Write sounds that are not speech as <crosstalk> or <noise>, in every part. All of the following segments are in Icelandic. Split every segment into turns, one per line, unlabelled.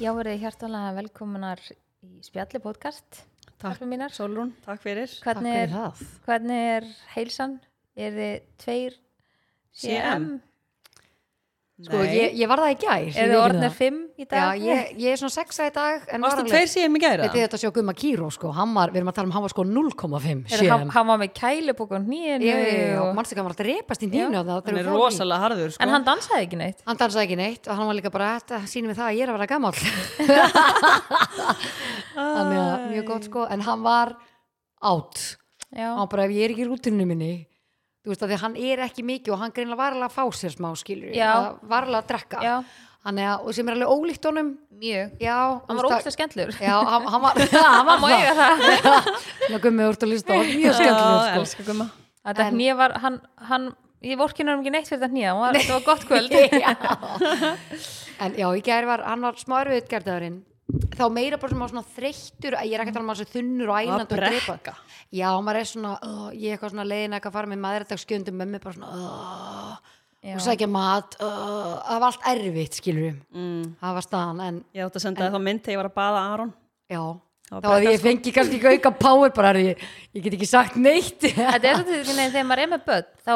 Já, verðið hjartalega velkominar í spjalli podcast.
Takk.
stelpur mínar.
Solrún,
Takk fyrir.
Hvernig
takk
er,
fyrir það.
hvernig er heilsan? Er þið tveir CM?
CM?
Sko, ég, ég var það í gær.
Er þið orðnir fimm í
Já,
dag?
ég, ég er svona sexa í dag. en var
Varstu
alveg-
tveir síðan í gæra?
Þetta er þetta að sjá Gumma Kíró, sko. Hann var, við erum að tala um, hann var sko 0,5
Er það hann,
séum.
hann var með kælubók á nýjunu?
Og mannstu ekki að hann var að drepast í nýjunu á það. þegar
Hann er
við fórum í-
rosalega harður, sko.
En hann dansaði ekki neitt.
Hann dansaði ekki neitt og hann var líka bara, þetta sýnir mig það að ég er að vera gammal. <laughs> Þannig að mjög gott, sko. En hann var átt.
Já,
Hann bara, ef ég er ekki í rútinu minni, þú veist að því að hann er ekki mikið og hann greinlega varlega að fá sér smá skilur.
Já.
Varlega að drekka.
já,
Þannig að, og sem er alveg ólíkt honum,
mjög.
já.
Hann var ógst að skemmtlur.
Já, hann, hann var, hann var
Má eiga það.
<laughs> Ná, gummi, þú ert að lísta á mjög sko. skemmtileg,
elskar gumma.
Þetta
En-
hnýja var, hann, hann, ég vorkinu hann ekki neitt fyrir þetta hnýja. Það var gott kvöld.
sko. <laughs> Já. En já, í gær var, hann var smá erfið gærdaðurinn. Þá meira bara sem var svona þreyttur, að ég er ekki að tala um að hann sé þunnur og
Hann var
ælandi og
brekka.
drepa. Já, maður er svona, uh, ég er eitthvað svona leiðin eitthvað að fara með maðurðardagsskjöndum með mig bara svona, uh,
<laughs> Já.
og sækja mat, uh, það var allt erfitt, skilur við.
Mm.
Það var staðan, en
Ég átti að senda það þá mynd þegar ég var að baða Aron.
já,
Það var
þá hefði ég fengið kannski ekki auka power bara, herri, ég, ég get ekki sagt neitt.
Þetta er svolítið því að þegar maður er með börn þá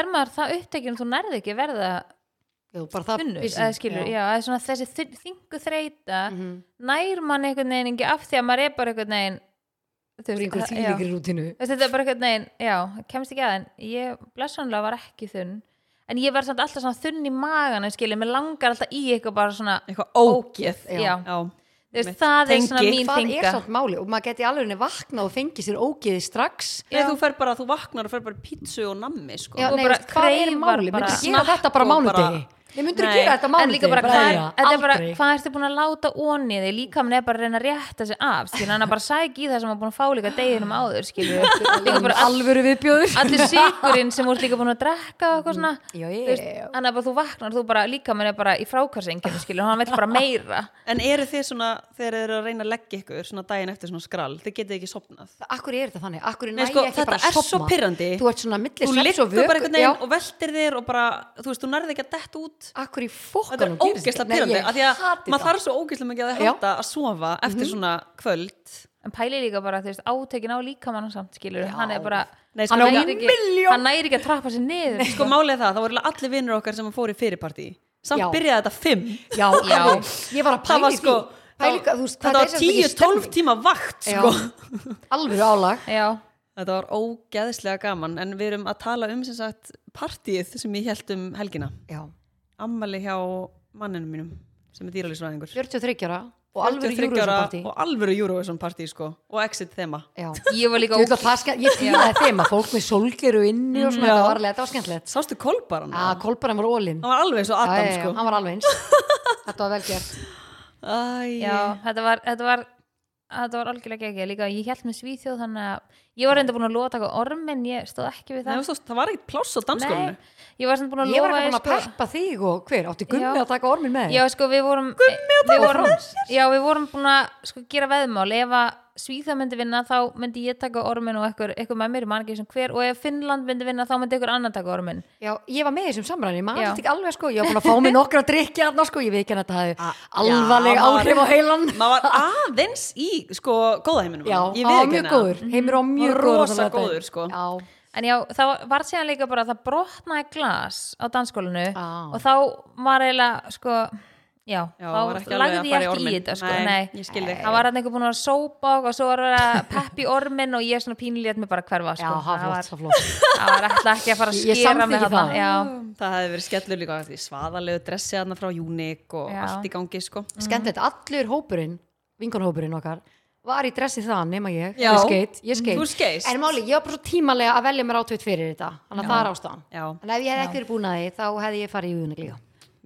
er maður það upptekinn að þú nærði ekki að verða
<laughs> Jú, bara það
unnur
vissi- Mhm.
eða skilur, já, eða svona þessi þy- þyngu þreita nær mann einhvern veginn ekki af því að maður er bara einhvern veginn þú
Það er einhver
það- já.
þýlíkri rútinu.
Þú veist, þetta er bara einhvern veginn, já, kemst ekki að en ég blessanlega var ekki þunn en ég var samt alltaf svona þunn í magan skilur, mér langar alltaf í eitthvað bara svona
Eitthvað ógeð.
já,
Já.
Þú veist, það er svona
Tengi.
mín
það er
þynga
samt máli og maður geti alveg henni vakna og fengi sér ógeði strax
Nei, þú fer bara, þú vaknar og fer bara í pítsu Sko. og nammi, sko.
já,
Og
nei,
bara
veist, hvað er
kreifar
máli,
bara-
myndir gera þetta bara á
Snakk og bara-
mánudegi nei, myndir
Nei,
gera þetta á
en líka
mánudegi
bara hvað,
Bræja,
þetta er bara,
aldrei.
hvað ertu búin að láta onni þig líkamni er bara að reyna að rétta sig af skilur, hann er bara að sækja í það sem hann er búin að fá líka deginum áður skilur,
<laughs>
líka bara all,
alvöru viðbjóður
allir sykurinn sem voru líka búin að drekka og eitthvað svona
Mm, já,
Þú
já,
veist,
já.
hann er bara þú vaknar, þú bara líkamni er bara í
<laughs>
frákarsenginu skilur, hann vill bara meira
En eru þið svona, þegar þið eru að reyna að leggja ykkur svona daginn eftir svona skrall, þið getið ekki sopnað.
akkur er þetta þannig, akkur er
Nei,
nægi
sko,
ekki
þetta
bara að
er svo
sopna
pirrandi.
þú ert svona milli
Þú
sveps
liggur
og
bara
vöku
einhvern veginn og veltir þér og bara, þú veist, þú nærði ekki að dett út.
akkur
Þetta
í
er
fokkanum
ógeðslega pyrrandi, af því að maður þarf svo ógeðslega mikið að
Já. Mhm.
halda að sofa eftir svona kvöld.
en pæli líka bara, þú veist, átekin á líkamann samt skilur, hann er bara
Nei, sko,
hann
Hann á
næri ekki-
milljón.
hann næri ekki að trappa sér niður
sko málið er það, það voru eiginlega allir vinnur okkar sem fóru í fyrirparti samt
Já.
byrjaði þetta fimm
<laughs> já,
Já.
alveg, ég var að
það
pæli
var sko, þetta var 10-12 tíma vakt sko.
alveg álag
já,
þetta var ógeðslega gaman en við erum að tala um sem sagt partíið sem ég held um helgina
já,
ammali hjá manninu mínum sem er dýralýsvæðingur
43 ára og alveg
43 ára
júruðsparti
og alvöru Eurovision partí sko, og exit þema
já
ég var líka
Ég, ætla, að það skemmt, ég fílaði þeim að fólk með solgeru inni og svona,
Já.
þetta var alveg, þetta var skemmtilegt
sástu kolbaran?
að kolbarinn var ólinn
hann var alveg eins og Adam sko
hann var alveg eins þetta var vel gert
Æ,
Já, þetta var, þetta var þetta var algjörlega ekki, líka ég held með Svíþjóð þannig að ég var reynda búin að lofa að taka orm en ég stóð ekki við
Nei,
það
þú veist, það var ekkert pláss á danskólinu
ég var samt búin að
ég var
lofa
ekki búin að
sko-
peppa þig og hver, átti gummi
Já.
að taka ormin með
Já,
þér?
sko, við vorum við vorum, já, við vorum búin að sko, gera veðmál, ef að Svíþjóð myndi vinna þá myndi ég taka ormin og ekkur, ekkur með mér, ég man ekki sem hver og ef Finnland myndi vinna þá myndi ekkur annan taka ormin
já, ég var með í þessum samræðin, ég maður
Já.
þetta ekki alveg sko ég var búin að fá mig nokkra að drikja þarna sko ég veit ekki að þetta
A-
hafði alvarleg
Já, maður-
áhrif á heilan
maður var aðeins í sko góðaheiminum
já,
Ég
hann var
viðurkenni
mjög
það.
góður, heimir á mjög
Var
góður
rosa
þarna daginn.
góður, sko.
já,
En já, það var síðan líka bara að það brotnaði glas á danskólinu
Á.
og þá var eiginlega, sko, já,
Ah. Já,
þá
var ekki alveg
lagði
að
ég
fara
ekki
í
í
orminn.
þetta, sko,
Nei,
nei.
ég skil þig.
Það var hann einhver búin að vera að sópa og svo var að vera pepp í ormin og ég svona pínulíðat mig bara að hverfa,
já,
sko.
það
var,
var flott, það flott
það var alltaf ekki að fara að
Ég- ég
skera mig
samþykki
þarna.
það.
Já,
Það hefði verið skellur líka því svaðalegu dressi aðna frá Júnik og
Já.
allt í gangi sko.
Mm. skemmtilegt, allur hópurinn vinkonhópurinn okkar var í dressi það nema ég,
Já. Mm.
ég skeit, ég skeit
Þú skeist.
en máli, ég var bara svo tímalega að velja mér átveit fyrir þetta þannig að það er ástæðan
Já,
en ef ég hefði ekki verið búin að því þá hefði ég farið í uðunig líka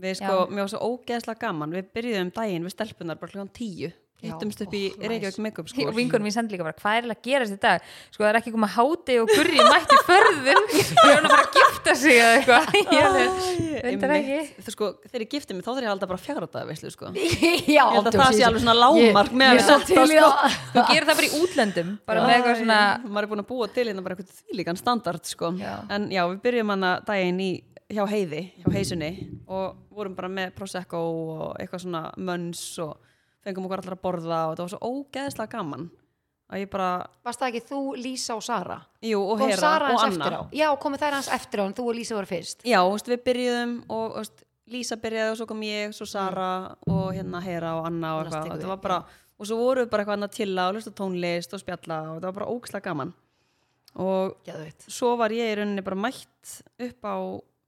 við sko, mér var svo ógeðslega gaman. Við byrjuðum daginn við stelpunar bara klukkan tíu. Hittumst upp í
ó,
Reykjavík Makeup
og
Sko, <laughs>
School.
vingunum mín sendi líka bara, hvað er eiginlega að gerast í dag? Sko, það er ekki komið háti og gurri mætti
<laughs>
förðum, það er hann að fara að gifta sig eða eitthvað. Ég veit það ekki.
Þú sko, þeir eru giftið mig, þá þarf ég að halda bara fjagra dagar veislu sko. <laughs> Ég
Já,
held að það sé alveg svona lágmark með sko.
Ég er svo til í það
Þú gerir það bara í útlöndum, bara með eitthvað svona
maður er búin að búa til hérna bara eitthvað þvílíkan standard sko.
Já.
en já, við byrjum hann að daginn í hjá heiði, hjá heisunni og vorum bara með prosecco og eitthvað svona mönns og fengum okkur allar að borða og þetta var svo ógeðslega gaman að ég bara,
Varst það ekki þú, Lísa og Sara?
jú og
Kom
Hera
Sara
og
hans
Anna
eftir á? Já, komið þær hans eftir á en þú og Lísa voru fyrst
Já, þú veist, við byrjuðum og þú veist, Lísa byrjaði og svo kom ég, svo Sara og hérna Hera og Anna og
Annars
eitthvað
tekur
og
við,
þetta var bara, og svo voru við bara eitthvað annað til að hlusta á tónlist og spjalla og þetta var bara ógislega gaman og
Geðveikt.
svo var ég í rauninni bara mætt upp á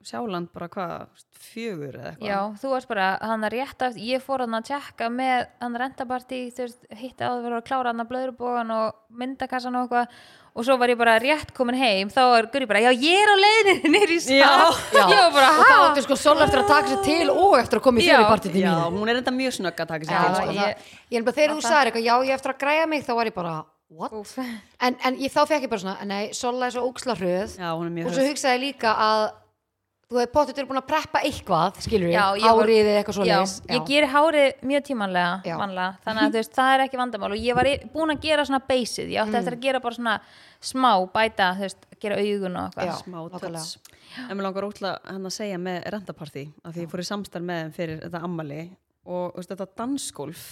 Sjáland bara hvað, þú veist, fjögur eða eitthvað
Já, þú varst bara, hann er rétt aftur, ég fór hann að tjekka með hann rentapartí, þú veist, hitti áður fyrir að klára hann að blöðrubógan og myndakassan og eitthvað og svo var ég bara rétt komin heim, þá er Guri bara, já, ég er á leiðinni nýr í
Já.
stað,
<laughs>
Já.
ég var bara,
Og þá áttu sko Sol eftir að taka sér til og eftir að koma í
Já,
þjóðipartinu mínu
Já, hún er enda mjög snögg að taka
Já,
Já,
sér til
sko,
sko.
ég-
það- ég er bara þegar þú sagðir eitthvað já ég á eftir að græja mig þá var ég bara what?
Úff.
En, en ég, þá fekk ég bara svona nei, Sola er svo óksla hröð
Já, hún er mjög
og svo hugsaði ég líka að þú hefði potið til búin að preppa eitthvað skilur
Já,
ég,
ég var-
árið eða eitthvað svo
Já, ég geri hárið mjög
Já.
tímanlega vanlega, þannig að þú veist, það er ekki vandamál og ég var í- búin að gera svona beysið ég átti eftir að gera bara svona smá bæta þú veist, gera augun og
Já.
eitthvað
smá
nákvæmlega.
töts en mér langar ótrúlega hann að segja með rentapartí af því ég fór í samstarf með þeim fyrir þetta ammali og þú veist, þetta dansgolf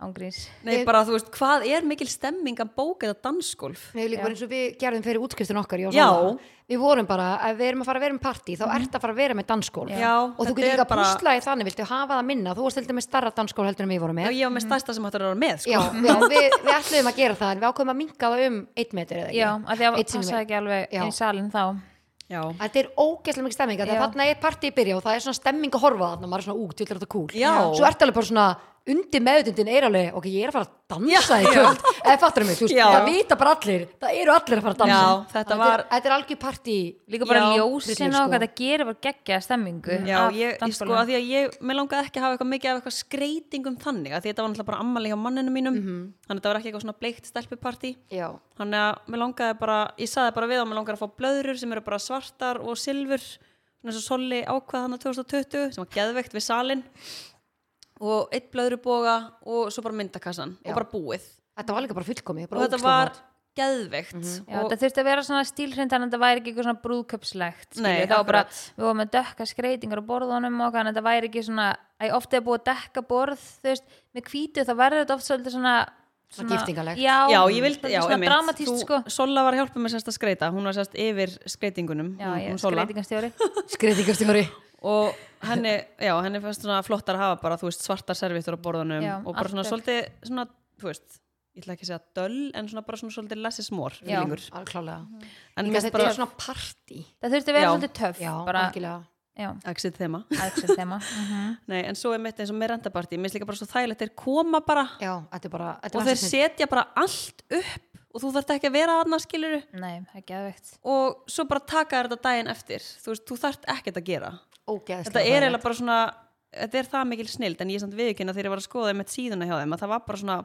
ángríns
nei bara þú veist hvað er mikil stemming að bóka þetta dansgolf
Mér er líka bara eins og við gerðum fyrir útskriftin okkar ég og
Já.
Solla. Við vorum bara, ef við erum að fara að vera með partí þá ert að fara að vera með dansskól
Já,
og þú
þetta
getur
er
líka
bara-
púslaði þannig, viltu hafa það minna þú varst heldur með starra dansskól heldur en við vorum
já
með
ég var með stærsta sem hættur að vera með sko.
Já, já við, við ætlum að gera það en við ákveðum að minka það um eitt metri eða ekki?
Já, af því að
Einn sem-
passaði ekki alveg
Já.
inn í salin þá
já,
Þetta er ógeðslega mikið stemming Þannig
Já.
að þarna er partí í byrja og það er svona stemming að horfa þannig að maður er svona út, til þetta kúl
Já.
Svo ertu alveg bara svona undir meðutundin er alveg ok, ég er að fara að dansa í kvöld eða fattur mig, þú veist,
Já.
það vita bara allir það eru allir að fara að dansa
Já, þetta
er-
var-
Þetta er algjör partí
líka bara
Já,
ljósin
trillir,
og
sko.
hvað það gerir var geggja stemmingu
já
af
ég, ég sko
dansskólanum.
að því að ég mér langaði ekki að hafa eitthvað mikið af eitthvað skreitingum þannig að því þetta var náttúrulega bara ammali hjá manninu mínum
Mhm.
þannig að þetta var ekki eitthvað svona bleikt stelpupartí
Já,
þannig að mér langaði bara ég saði bara við að mér langaði að fá blöðrur sem eru bara svartar og silfur svona eins og Solli ákvað hann að 2020 sem var geðveikt við salin og eitt blöðruboga og svo bara myndakassan
Já.
og bara búið
þetta var líka bara fullkomi
og þetta var geðveikt
Mhm. Já,
og
það þurfti að vera svona stílhrind þannig að þetta væri ekki eitthvað svona brúðköpslegt skilur
Nei,
við, þá var bara,
akkurat.
við vorum með dökka skreitingar á borðunum og þannig að þetta væri ekki svona æ, oft er búið að dekka borð þú veist, með hvítu þá verður þetta oft svolítið svona, svona
giftingarlegt.
já,
Já, ég vildi,
svolítið
já, mm,
svona dramatíst sko
Sola var að hjálpa mér sérst að skreita, hún var sérst yfir skreitingunum,
já,
hún-
ég,
hún Solla.
skreitingarstjóri
Skriðingarstjóri
og henni, já, henni fannst svona flottar að hafa bara, þú veist, svartar servítur á borðunum
Já,
og bara svona
artwork.
svolítið, svona, þú veist ég ætla ekki að segja döll, en svona bara svona svolítið lessi smór
Já.
fílingur,
Þetta
en mér finnst bara
er svona partí
það
<laughs>
þurfti að vera
Já.
svolítið töff
Já,
bara,
algjörlega
já,
exit þema,
aðeins Mhm. þema
nei, en svo er mitt eins og með rentapartí, mér finnst líka bara svo þægilegt þeir koma bara
Já, þetta er bara þetta
og
er
þeir
ansi snill.
setja bara allt upp og þú þarft ekki að vera annars skiluru
nei, ekki aðvegt
og svo bara taka þér þetta daginn eftir þú veist, þú þarft ekkert að gera
Ógeðslega
þetta er
þægilegt.
eiginlega bara svona þetta er það mikil snild, en ég samt viðkynna þegar ég var að skoða með síðuna hjá þeim, að það var bara svona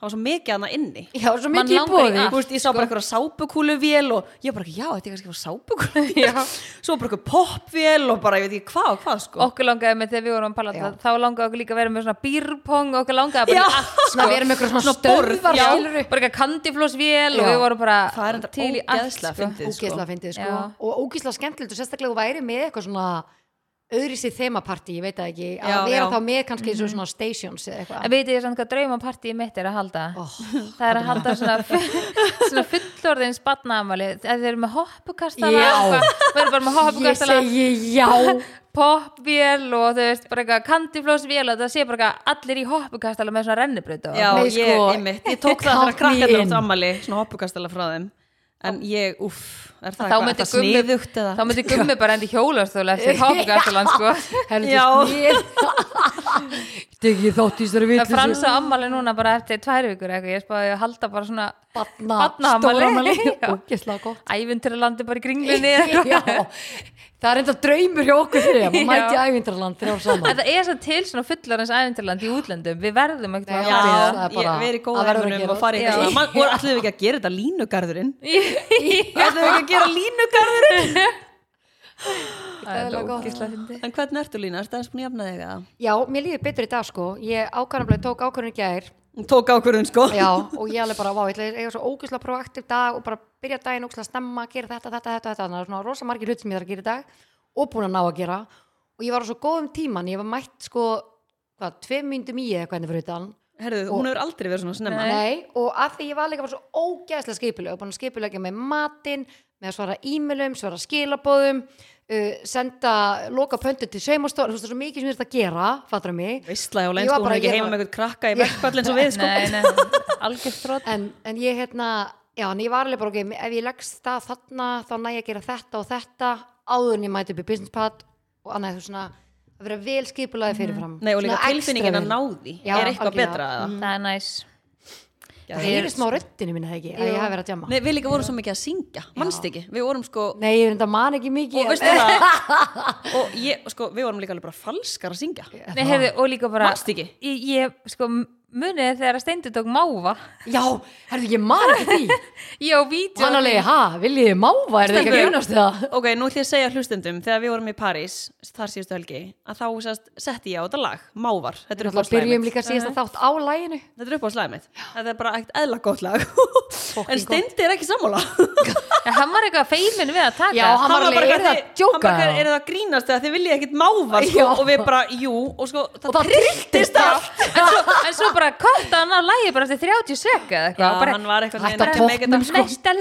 það var svo mikið annað inni
Já, svo
Man
mikið í
langar í
bóði
allt. sko.
Þú veist, ég sá bara eitthvað sápukúluvél og ég bara, já, þetta er kannski
<laughs>
eitthvað sápukúluvél svo bara eitthvað popvél og bara, ég veit ekki hvað og hvað, sko
okkur langaði með þegar við vorum að pala
Já.
þá langaði okkur líka að vera með svona býrpong okkur langaði bara í
Já.
allt
Svona við erum eitthvað svona stöðvar
já,
skilur
bara eitthvað kandiflósvél
Já.
og við vorum bara
<laughs> það er enda
sko. til í allt
ógeðslega
sko.
fyndið, sko
ógeðslega fyndið sko.
Já.
og ógeðslega skemmtilegt og sérstaklega þú væri með eitthvað svona öðri sér þemapartí, ég veit það ekki að
Já,
vera
já.
þá með kannski eins og svona stations eða
en
eitthvað
veitir ég samt hvað draumapartíi mitt er að halda
oh,
það er að halda svona, <laughs> svona fullorðins batnaamali þeir eru með hoppukastala
Já.
og eitthvað. Við erum bara með
ég
hoppukastala
segi já
<laughs> popvél og þú veist bara eitthvað kandiflósvél og það sé bara eitthvað allir í hoppukastala með svona rennibrauta
já,
Nei,
ég,
sko,
einmitt, ég tók það þegar
count me
krakkarnir
in.
átt ammali svona hoppukastala frá þeim en ég, uff, er það
þá
eitthvað, er
myndi
það
gummi
sniðugt eða
þá myndi gummi bara endi hjólastóla
<laughs>
eftir hoppugastalan sko
heldur
Já.
snýr degi þátt í þessari
það
vill
fransa ammali núna bara eftir tvær vikur eitthvað ég spáði að halda bara svona
batna
Barnaafmæli.
stóramæli
<laughs> Já.
ógeðslega gott
ævinturlandi bara í kringlunni eða eitthvað.
<laughs> já, það er enda draumur hjá okkur þrjum að
Já.
mæti ævindraland þrjár saman
<laughs> en það er svo til svona fullarins ævinturlandi í útlöndum við verðum ekkert
Nei,
að
Já,
fara í
það
það.
ég
er bara-
verið í
það
góða
verður að
erunum
gera
og farið
það.
eitthvað svona, Man- og ætlum við ekki að gera þetta línugarðurinn ætlum við ekki að gera línugarðurinn
það er
Það er
alveg
gott.
ógeðslega fyndið.
en hvernig ertu Lína, ertu aðeins búin að jafna þig eða?
já, mér líður betur í dag sko ég ákvæmlega tók ákvæmlega gær
Hún tók ákvörðun sko
Já, og ég alveg bara, vá, ég ætla að eiga svo ógæslega proaktiv dag og bara byrja daginn ógæslega snemma, gera þetta, þetta, þetta, þetta, þannig að það er svona rosa margir hlut sem ég þarf að gera í dag og búin að ná að gera og ég var á svo góðum tíman, ég var mætt sko, hvað, tvei myndum í eða hvernig fyrir utan
Herðu, hún hefur aldrei verið svona snemma.
Nei.
Nei, og að því ég var líka bara svo ógæðslega skipuleg, búin að skipulegja með matinn, með að svara e-mailum, svara skilabóðum, uh, senda loka pöntu til saumastóri, þú veist það er svo mikið sem ég þurfti að gera, fattur mig.
Veistla hjá
Ég
lenn,
var
sko, hún
bara-
er ekki
ég
heima
var-
með eitthvað krakka í verkfall eins og við, sko.
Nei, nei, algjör þrótt
En, en ég hérna, já, en ég var alveg bara, ok, ef ég leggst það þarna, þá næ ég að gera þetta og þetta, áður en ég mæti upp í business pad og annað þú veist, svona, að vera vel skipulagi fyrirfram.
Nei, og líka
Svona extra
tilfinningin að
vel.
ná því
Já,
er eitthvað
algjörlega. Mm.
betra eða?
Það er næs
Það heyrist má röddinu minna ekki, að
Jú.
ég hafi verið að djama.
Nei, við líka vorum svo mikið að syngja, mannst ekki, við vorum sko,
Nei, ég er enda man ekki mikið.
og veistu
<laughs>
það, og ég, sko, við vorum líka alveg bara falskar að syngja,
Nei, heyrðu, og líka bara
mannst ekki,
Ég, ég sko, munið þegar að Steindi tók máva
Já, herðu, ég man <laughs> ekki því.
Ég á vídeo
Hann alveg, ha, viljið þið máva, er þið ekki að
Stelpur.
grunast það?
ok, nú ætlum ég að segja hlustendum, þegar við vorum í París, þar síðustu helgi, að þá sest, setti ég á þetta lag, Mávar, þetta er upp á
Alltaf byrjum
slæmið,
líka síðast að þátt á læginu.
þetta er upp á slæmið, þetta er bara eitt eðla gott lag, en
gott.
Steindi er ekki sammála,
Já, Hann var eitthvað feiminn við að taka
Já, hann var alveg, er það að
hann
djóka?
bara, er það að grínast þegar þið viljið ekkit Mávar, sko,
Já.
og við bara, jú, og sko,
Og það trilltist allt.
en, svo, en svo bara kotta hann á lægi bara eftir 30 sek eða
Já,
eitthvað bara,
hann var eitthvað
Hætt að
neginn- make it
toppnum,
up.
sko.
Næsta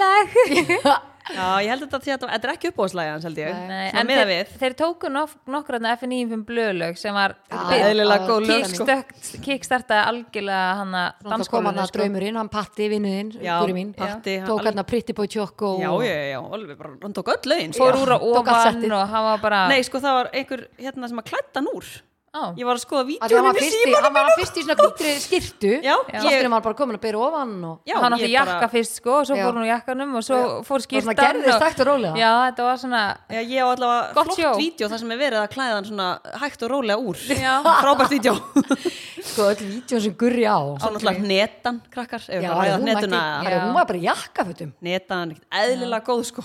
lag
<laughs>
Já, ég held að þetta sé að þetta er ekki uppbóðslæði hans held ég
Nei,
Svona
en
miðað
þeir,
við
þeir tóku nok nokkrarna FN95 blöðlög sem var
Já,
bit-
eðlilega góð lög, sko.
kickstökt- kickstartaði algjörlega sko. hann að
Þannig að kom hann
danskólinu
að draumurinn, hann patti vinnuðinn,
Já,
guri mín,
Patti, hann
tók
alveg-
hann að pritti bói tjókk og...
Já, já, já, alveg bara, hann tók öll lögin sko.
fór úr á
tók allt
ofan
settið.
og hann var bara
Nei, sko, það var einhver hérna sem að klætta hann úr
á,
Ég var að skoða
Af því hann
vítjónum í
var fyrst í,
símanum
hann var fyrst í svona kvítri skirtu,
Já, já.
loftinum var bara komin að byrja ofan og...
Já,
hann
ég
átti
bara-
jakka fyrst sko og svo
Já.
fór hún úr jakkanum og svo fór
Og svona
skýrtan
gerðist hægt og rólega.
já, þetta var svona
Já, ég á allavega
Gott
flott
sjó.
vítjó þar sem er verið að klæða hann svona hægt og rólega
<laughs>
úr
Já.
Frábært vítjó
Sko, öll vítjón sem gurri á.
Svo náttúrulega netan, krakkar Ef
Já,
við bara ræða
hún mætti,
netuna
hann-
Já.
hún var bara í jakkafutum.
Netan, ekkert eðlilega góð, sko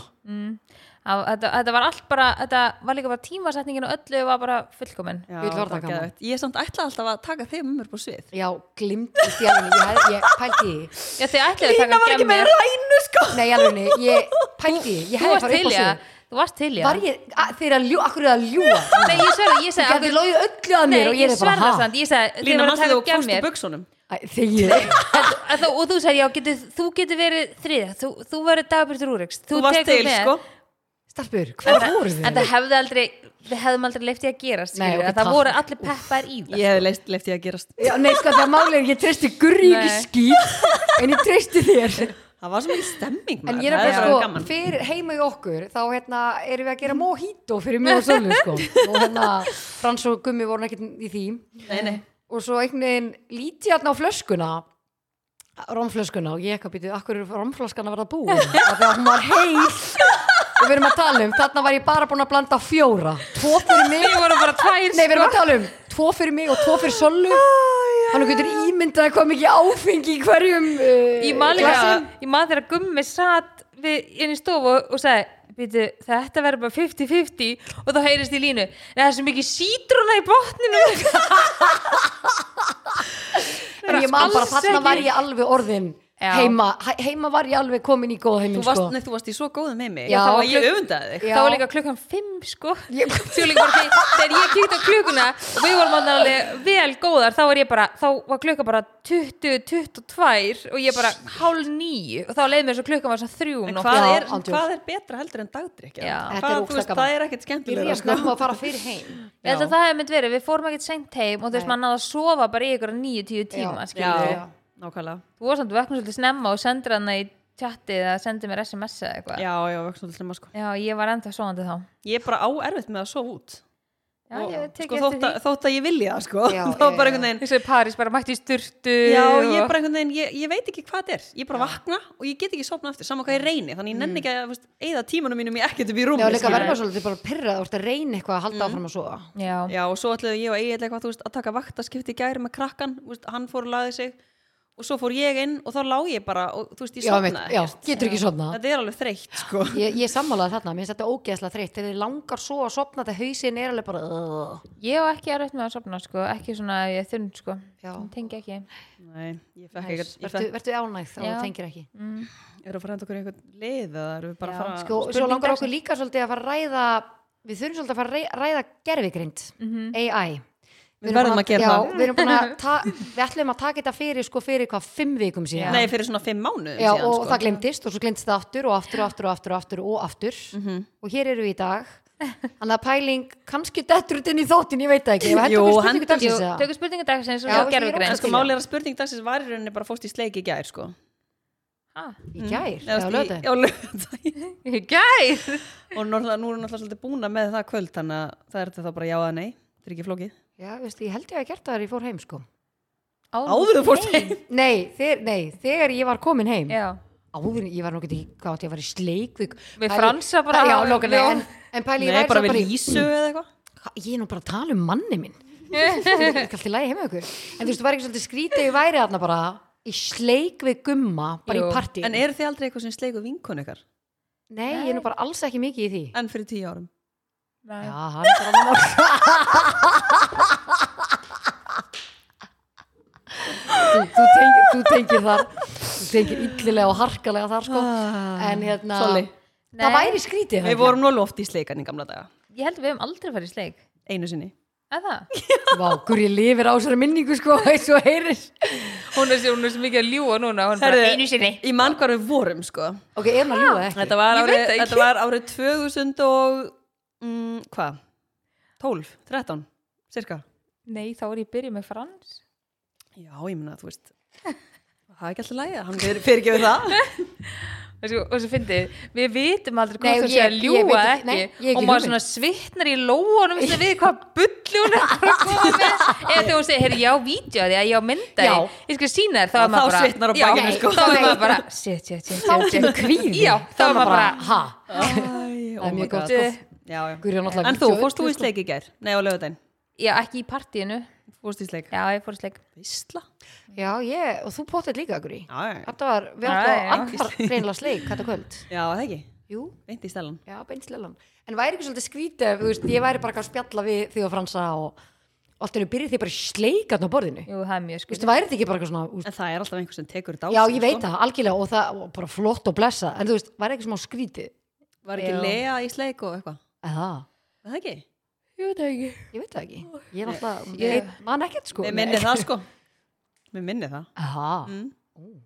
á, þetta, þetta var allt bara, þetta var líka bara tímasetningin og öllu var bara fullkomin
Já,
Gull var það gaman.
geðveikt. Ég samt ætla alltaf að taka þig um mér búið svið
Já, glimtist í alveg, ég, hef- ég pælti í því.
já, þið ætluðu að
Lína var
taka
ekki með
gemmir
rænu, sko
Nei,
<laughs>
alveg, ég pælti í því,
þú
ég hefði
varst til
farið upp á
í
sig.
það, þú varst til í
Var
það
ég, að- þeir að ljú, akkur er að ljúa?
Nei, ég sverða, ég
Ég
segi
gæti logið öllu að mér og ég er bara,
sverða
ha?
samt, ég segi
Lína, mannstu
um
þú fórst úr
gemmir
buksunum?
Þegið
Að þú- og þú sagði, já, getur, þú getur verið þriða, þú, þú verið dagbyrtur úrreikst
Þú varst
tekur
til,
með.
sko
Stelpur, hvað voru þið?
en það hefði aldrei, við hefðum aldrei leift ég að gera
Nei,
skilur,
ok,
að það
takk.
voru allir peppar í það
Ég hef leist, leift ég að gerast
Já, nei, sko, það máli er, ég treysti gurri ekki
Nei.
skýt En ég treysti þér
Það var svo mikið stemming maður.
En ég er
það
bara,
bara
sko,
gaman
fyrir heima í okkur Þá, hérna, erum við að gera mojito fyrir mjög og sölu, sko Og hérna, Frans og Gummi voru ekkert í því
nei, nei.
Og svo einhvern veginn líti hérna á flöskuna Romflöskuna Og ég ekki að býtu, akkur eru romflaskan að verða búin Af því að hún var heil Og við erum að tala um, þarna var ég bara búin að blanda fjóra Tvo fyrir mig
Við vorum bara tvær
Nei, við
sko.
erum að tala um tvo fyrir mig og tvo fyrir Sollu Hann getur ímyndað hvað mikið áfengi í hverjum uh,
Ég man líka,
glasum.
ég man þegar Gummi satt við inn í stofu og, og sagði Býtu, þetta verður bara 50-50 og þá heyrist í línu, "Nei, það er svo mikið sítruna í botninu
<laughs> En ég man bara,
Alls
þarna
ekki.
var ég alveg orðin
Já.
heima he- Heima var ég alveg komin í góða heiminn
Þú, varst,
sko.
nei, þú varst í svo góðum heimi
Já.
Já, Það var ég öfundaði þig
Já.
þá var líka klukkan 5 sko
Ég-
<laughs> Svo líka bara því, þegar ég kíkti á klukkuna og við vorum þarna alveg vel góðar þá var ég bara, þá var klukka bara 20-22 og ég bara hálf nýju og þá leið mér svo klukkan var svo þrjú
En
um
hvað,
nóttina.
Já,
er,
ándjóks.
hvað er betra heldur en dagdrykk?
Já.
Hvað,
Þetta
þú
er
veist,
ógeðslega
Það
gaman.
er ekkert sko.
Ég er
skemmtilega
að snemma að fara fyrir heim
Ég held að það hefði mynd verið, við fórum ekkert seint heim og þú veist
Nei.
maður náði að sofa bara í ykkur 9-10 tíma
Já.
skilur
Já,
við.
Já.
nákvæmlega
Þú var samt vöknum svolítið snemma og sendur hann í chatti eða sendir mér sms eða eitthvað.
Já, já, vöxnum til snemma sko
Já, ég var enda svoandi þá.
Ég er bara á erfitt með að sofa út
Já,
Og,
ég tek
sko,
eftir
þótt, að,
því.
þótt að ég vilja það sko
Já,
<laughs> Þá
já,
bara
já.
einhvern veginn
Þessu París bara mætti í sturtu.
Já, ég er
og-
bara einhvern veginn, ég, ég veit ekki hvað þetta er Ég bara vakna og ég get ekki sopna aftur Saman hvað ég reyni, þannig ég nenni ekki að veist, Eða tímanum mínum ég ekkert upp í
Mm. Já,
rúmi
líka
skilurðu.
verður maður svolítið bara pyrrað Þú ert að reyna eitthvað að halda áfram að sofa
Já.
Já, og svo ætlaði ég og Egil eitthvað, þú veist, að taka vaktaskipti í gæri með krakkan, þú veist, hann fór og laði sig og svo fór ég inn og þá lá ég bara og þú veist, ég
Já, mitt,
sopnaði
já,
ekkert.
getur ekki sofnað
Þetta er alveg þreytt, sko.
Ég, ég sammálaði þarna, mér finnst þetta ógeðslega þreytt Þegar þið langar svo að sofna þetta hausin er alveg bara uh.
Ég á ekki erfitt með að sopna, sko. Ekki svona að ég er þunn, sko.
Já.
Ég Tengi ekki.
Nei, ég fekk
Vertu,
ekkert, ég fekk,
vertu ánægð
Já.
þá þú tengir ekki
eru að fara að henda okkur í einhvern lið eða eru við bara
Já,
að fara
sko, svo
spurning
langar
dagsins.
okkur líka svolítið að fara að ræða við þurfum svolítið að fara að rei- ræða gerfigrind AI
Við
erum
verðum
búin
að gera
já,
það.
Við erum búin að, ta, við ætlum að taka þetta fyrir sko fyrir hvað, fimm vikum síðan
Nei, fyrir svona fimm mánuðum
Já,
síðan,
og
sko.
það glemdist og svo glemdist það aftur og aftur og aftur og aftur og aftur og aftur
Mhm.
og hér eru við í dag Þannig að pæling, kannski dettur þetta inn í þóttin, ég veit það ekki Ef að
Jú,
hendur okkur spurningu
hendur-
dagsins eða?
Tökum spurningu dagsins
Já,
og gerðu
ég
En
grein
er
sko málið er að spurning dagsins var í rauninni bara fóst í sleik í gær sko
<laughs>
Í gær,
Mm. Eða,
já,
þú veist, í-
lögðu
Já, lögðu
Gæð
<laughs> Og norða, nú er hún alltaf svolítið búna með það kvöld Þannig að það er þetta þá bara já eða nei Það er ekki flókið
Já, veistu, ég held ég að gert það þegar ég fór heim sko
Áður þú fórst heim
Nei, þegar, nei, þegar ég var komin heim
<laughs>
Já,
Áður, ég var nú ekki, hvað átti ég að fara í sleik Við,
Við Fransa bara-
Já, lóka, nei,
Já.
en, en pæli, ég
Nei,
væri
bara
samt
við
í-
lísu eða eitthvað
Hva- ég er nú bara að tala um manni minn Þetta er ekki alltaf lægi heima hjá ykkur en þú veist, þú væri ekki svolítið skrítið ef ég væri þarna bara í sleik við gumma bara
Jú.
í partí
En eru þið aldrei eitthvað sem sleiku vinkon ykkar?
nei, ég er nú bara alls ekki mikið í því
En fyrir tíu árum
<laughs> Nei.
já, hann er bara mál þú, þú, teng, þú tengir þar þú tengir illilega og harkalega þar sko
Ah,
en hérna
sorry.
Nei.
það væri skrítið
Við
þarna.
vorum nú alveg oft í sleikan í gamla daga
Ég held að við hefum aldrei farið í sleik
Einu sinni
Er það?
Vá, hver ég lifir á þessari minningu sko <laughs> eins og heyrir
Hún er sér, hún er sér mikið að ljúa núna Hún
Herðu,
sinni
Ég man hvar við vorum sko
ok, er hann að ljúga ekki
Þetta var
Ég veit
árið,
það ekki.
þetta var árið 2000 og mm, Hvað? 12, 13, cirka
Nei, þá er ég byrjuð með Frans
Já, ég meina, þú veist Það er ekki alltaf lægja, hann fyrir, fyrir ekki við það
og svo, og svo fyndið, við vitum aldrei
Nei,
hvað þú
ég-
sé að
ég
ljúa
veit ekki-
ekki,
nei, ég hef
og
ekki
maður
hugmynd.
svona svitnar í lóunum sem við hvað bulli hún er að fara að koma með eða þegar hún segir, heyrðu, já, vídeo því að ég á mynda
Já.
því, ég skal sína þér þá
Já,
er maður
þá
bara,
svitnar á
já,
bakinu,
nei,
sko.
þá er
Nei.
maður
<laughs>
bara, shit, shit, shit,
þá
shit, shit.
kemur kvíðin
Já, þá er maður bara,
ha
Æ,
Það er
oh
mjög
my god.
gott,
sko.
já, já.
Guðrún náttúrulega
En þú,
gjöld,
fórst þú í
sko.
sleik í gær? Nei, á lögudaginn,
já, ekki í partíinu já,
fórst í sleik
ég fór í sleik
Ísla?
Já, ég, og þú potið líka, Guri.
Já, já, já,
Þetta var, við
Já,
ætlum
já.
að annar reynilega sleik þetta kvöld.
já, það ekki,
Jú,
beint í stælan
já, beint slælan. En væri ekki svolítið skrítið, ef, þú veist, ég væri bara eitthvað að spjalla við því og fransa og og allt er að byrja því bara í sleik aðna á borðinu.
jú, það er mjög
Þú
skrítið
veist, væri þetta ekki bara eitthvað svona, þú veist,
En það er alltaf einhver sem tekur þetta á
já,
sig,
ég veit
sko.
það, algjörlega, og það og bara flott og blessa, en þú veist, væri ekki smá skrítið.
Var ekki
Já.
Lea í sleik og eitthvað?
Eða,
Er Það ekki?
ég veit ekki
ég veit það ekki. Ég er alltaf,
Ég-
ég veit, man ekkert sko.
Mér minni það sko Mér minni það
<laughs> Aha,
mm.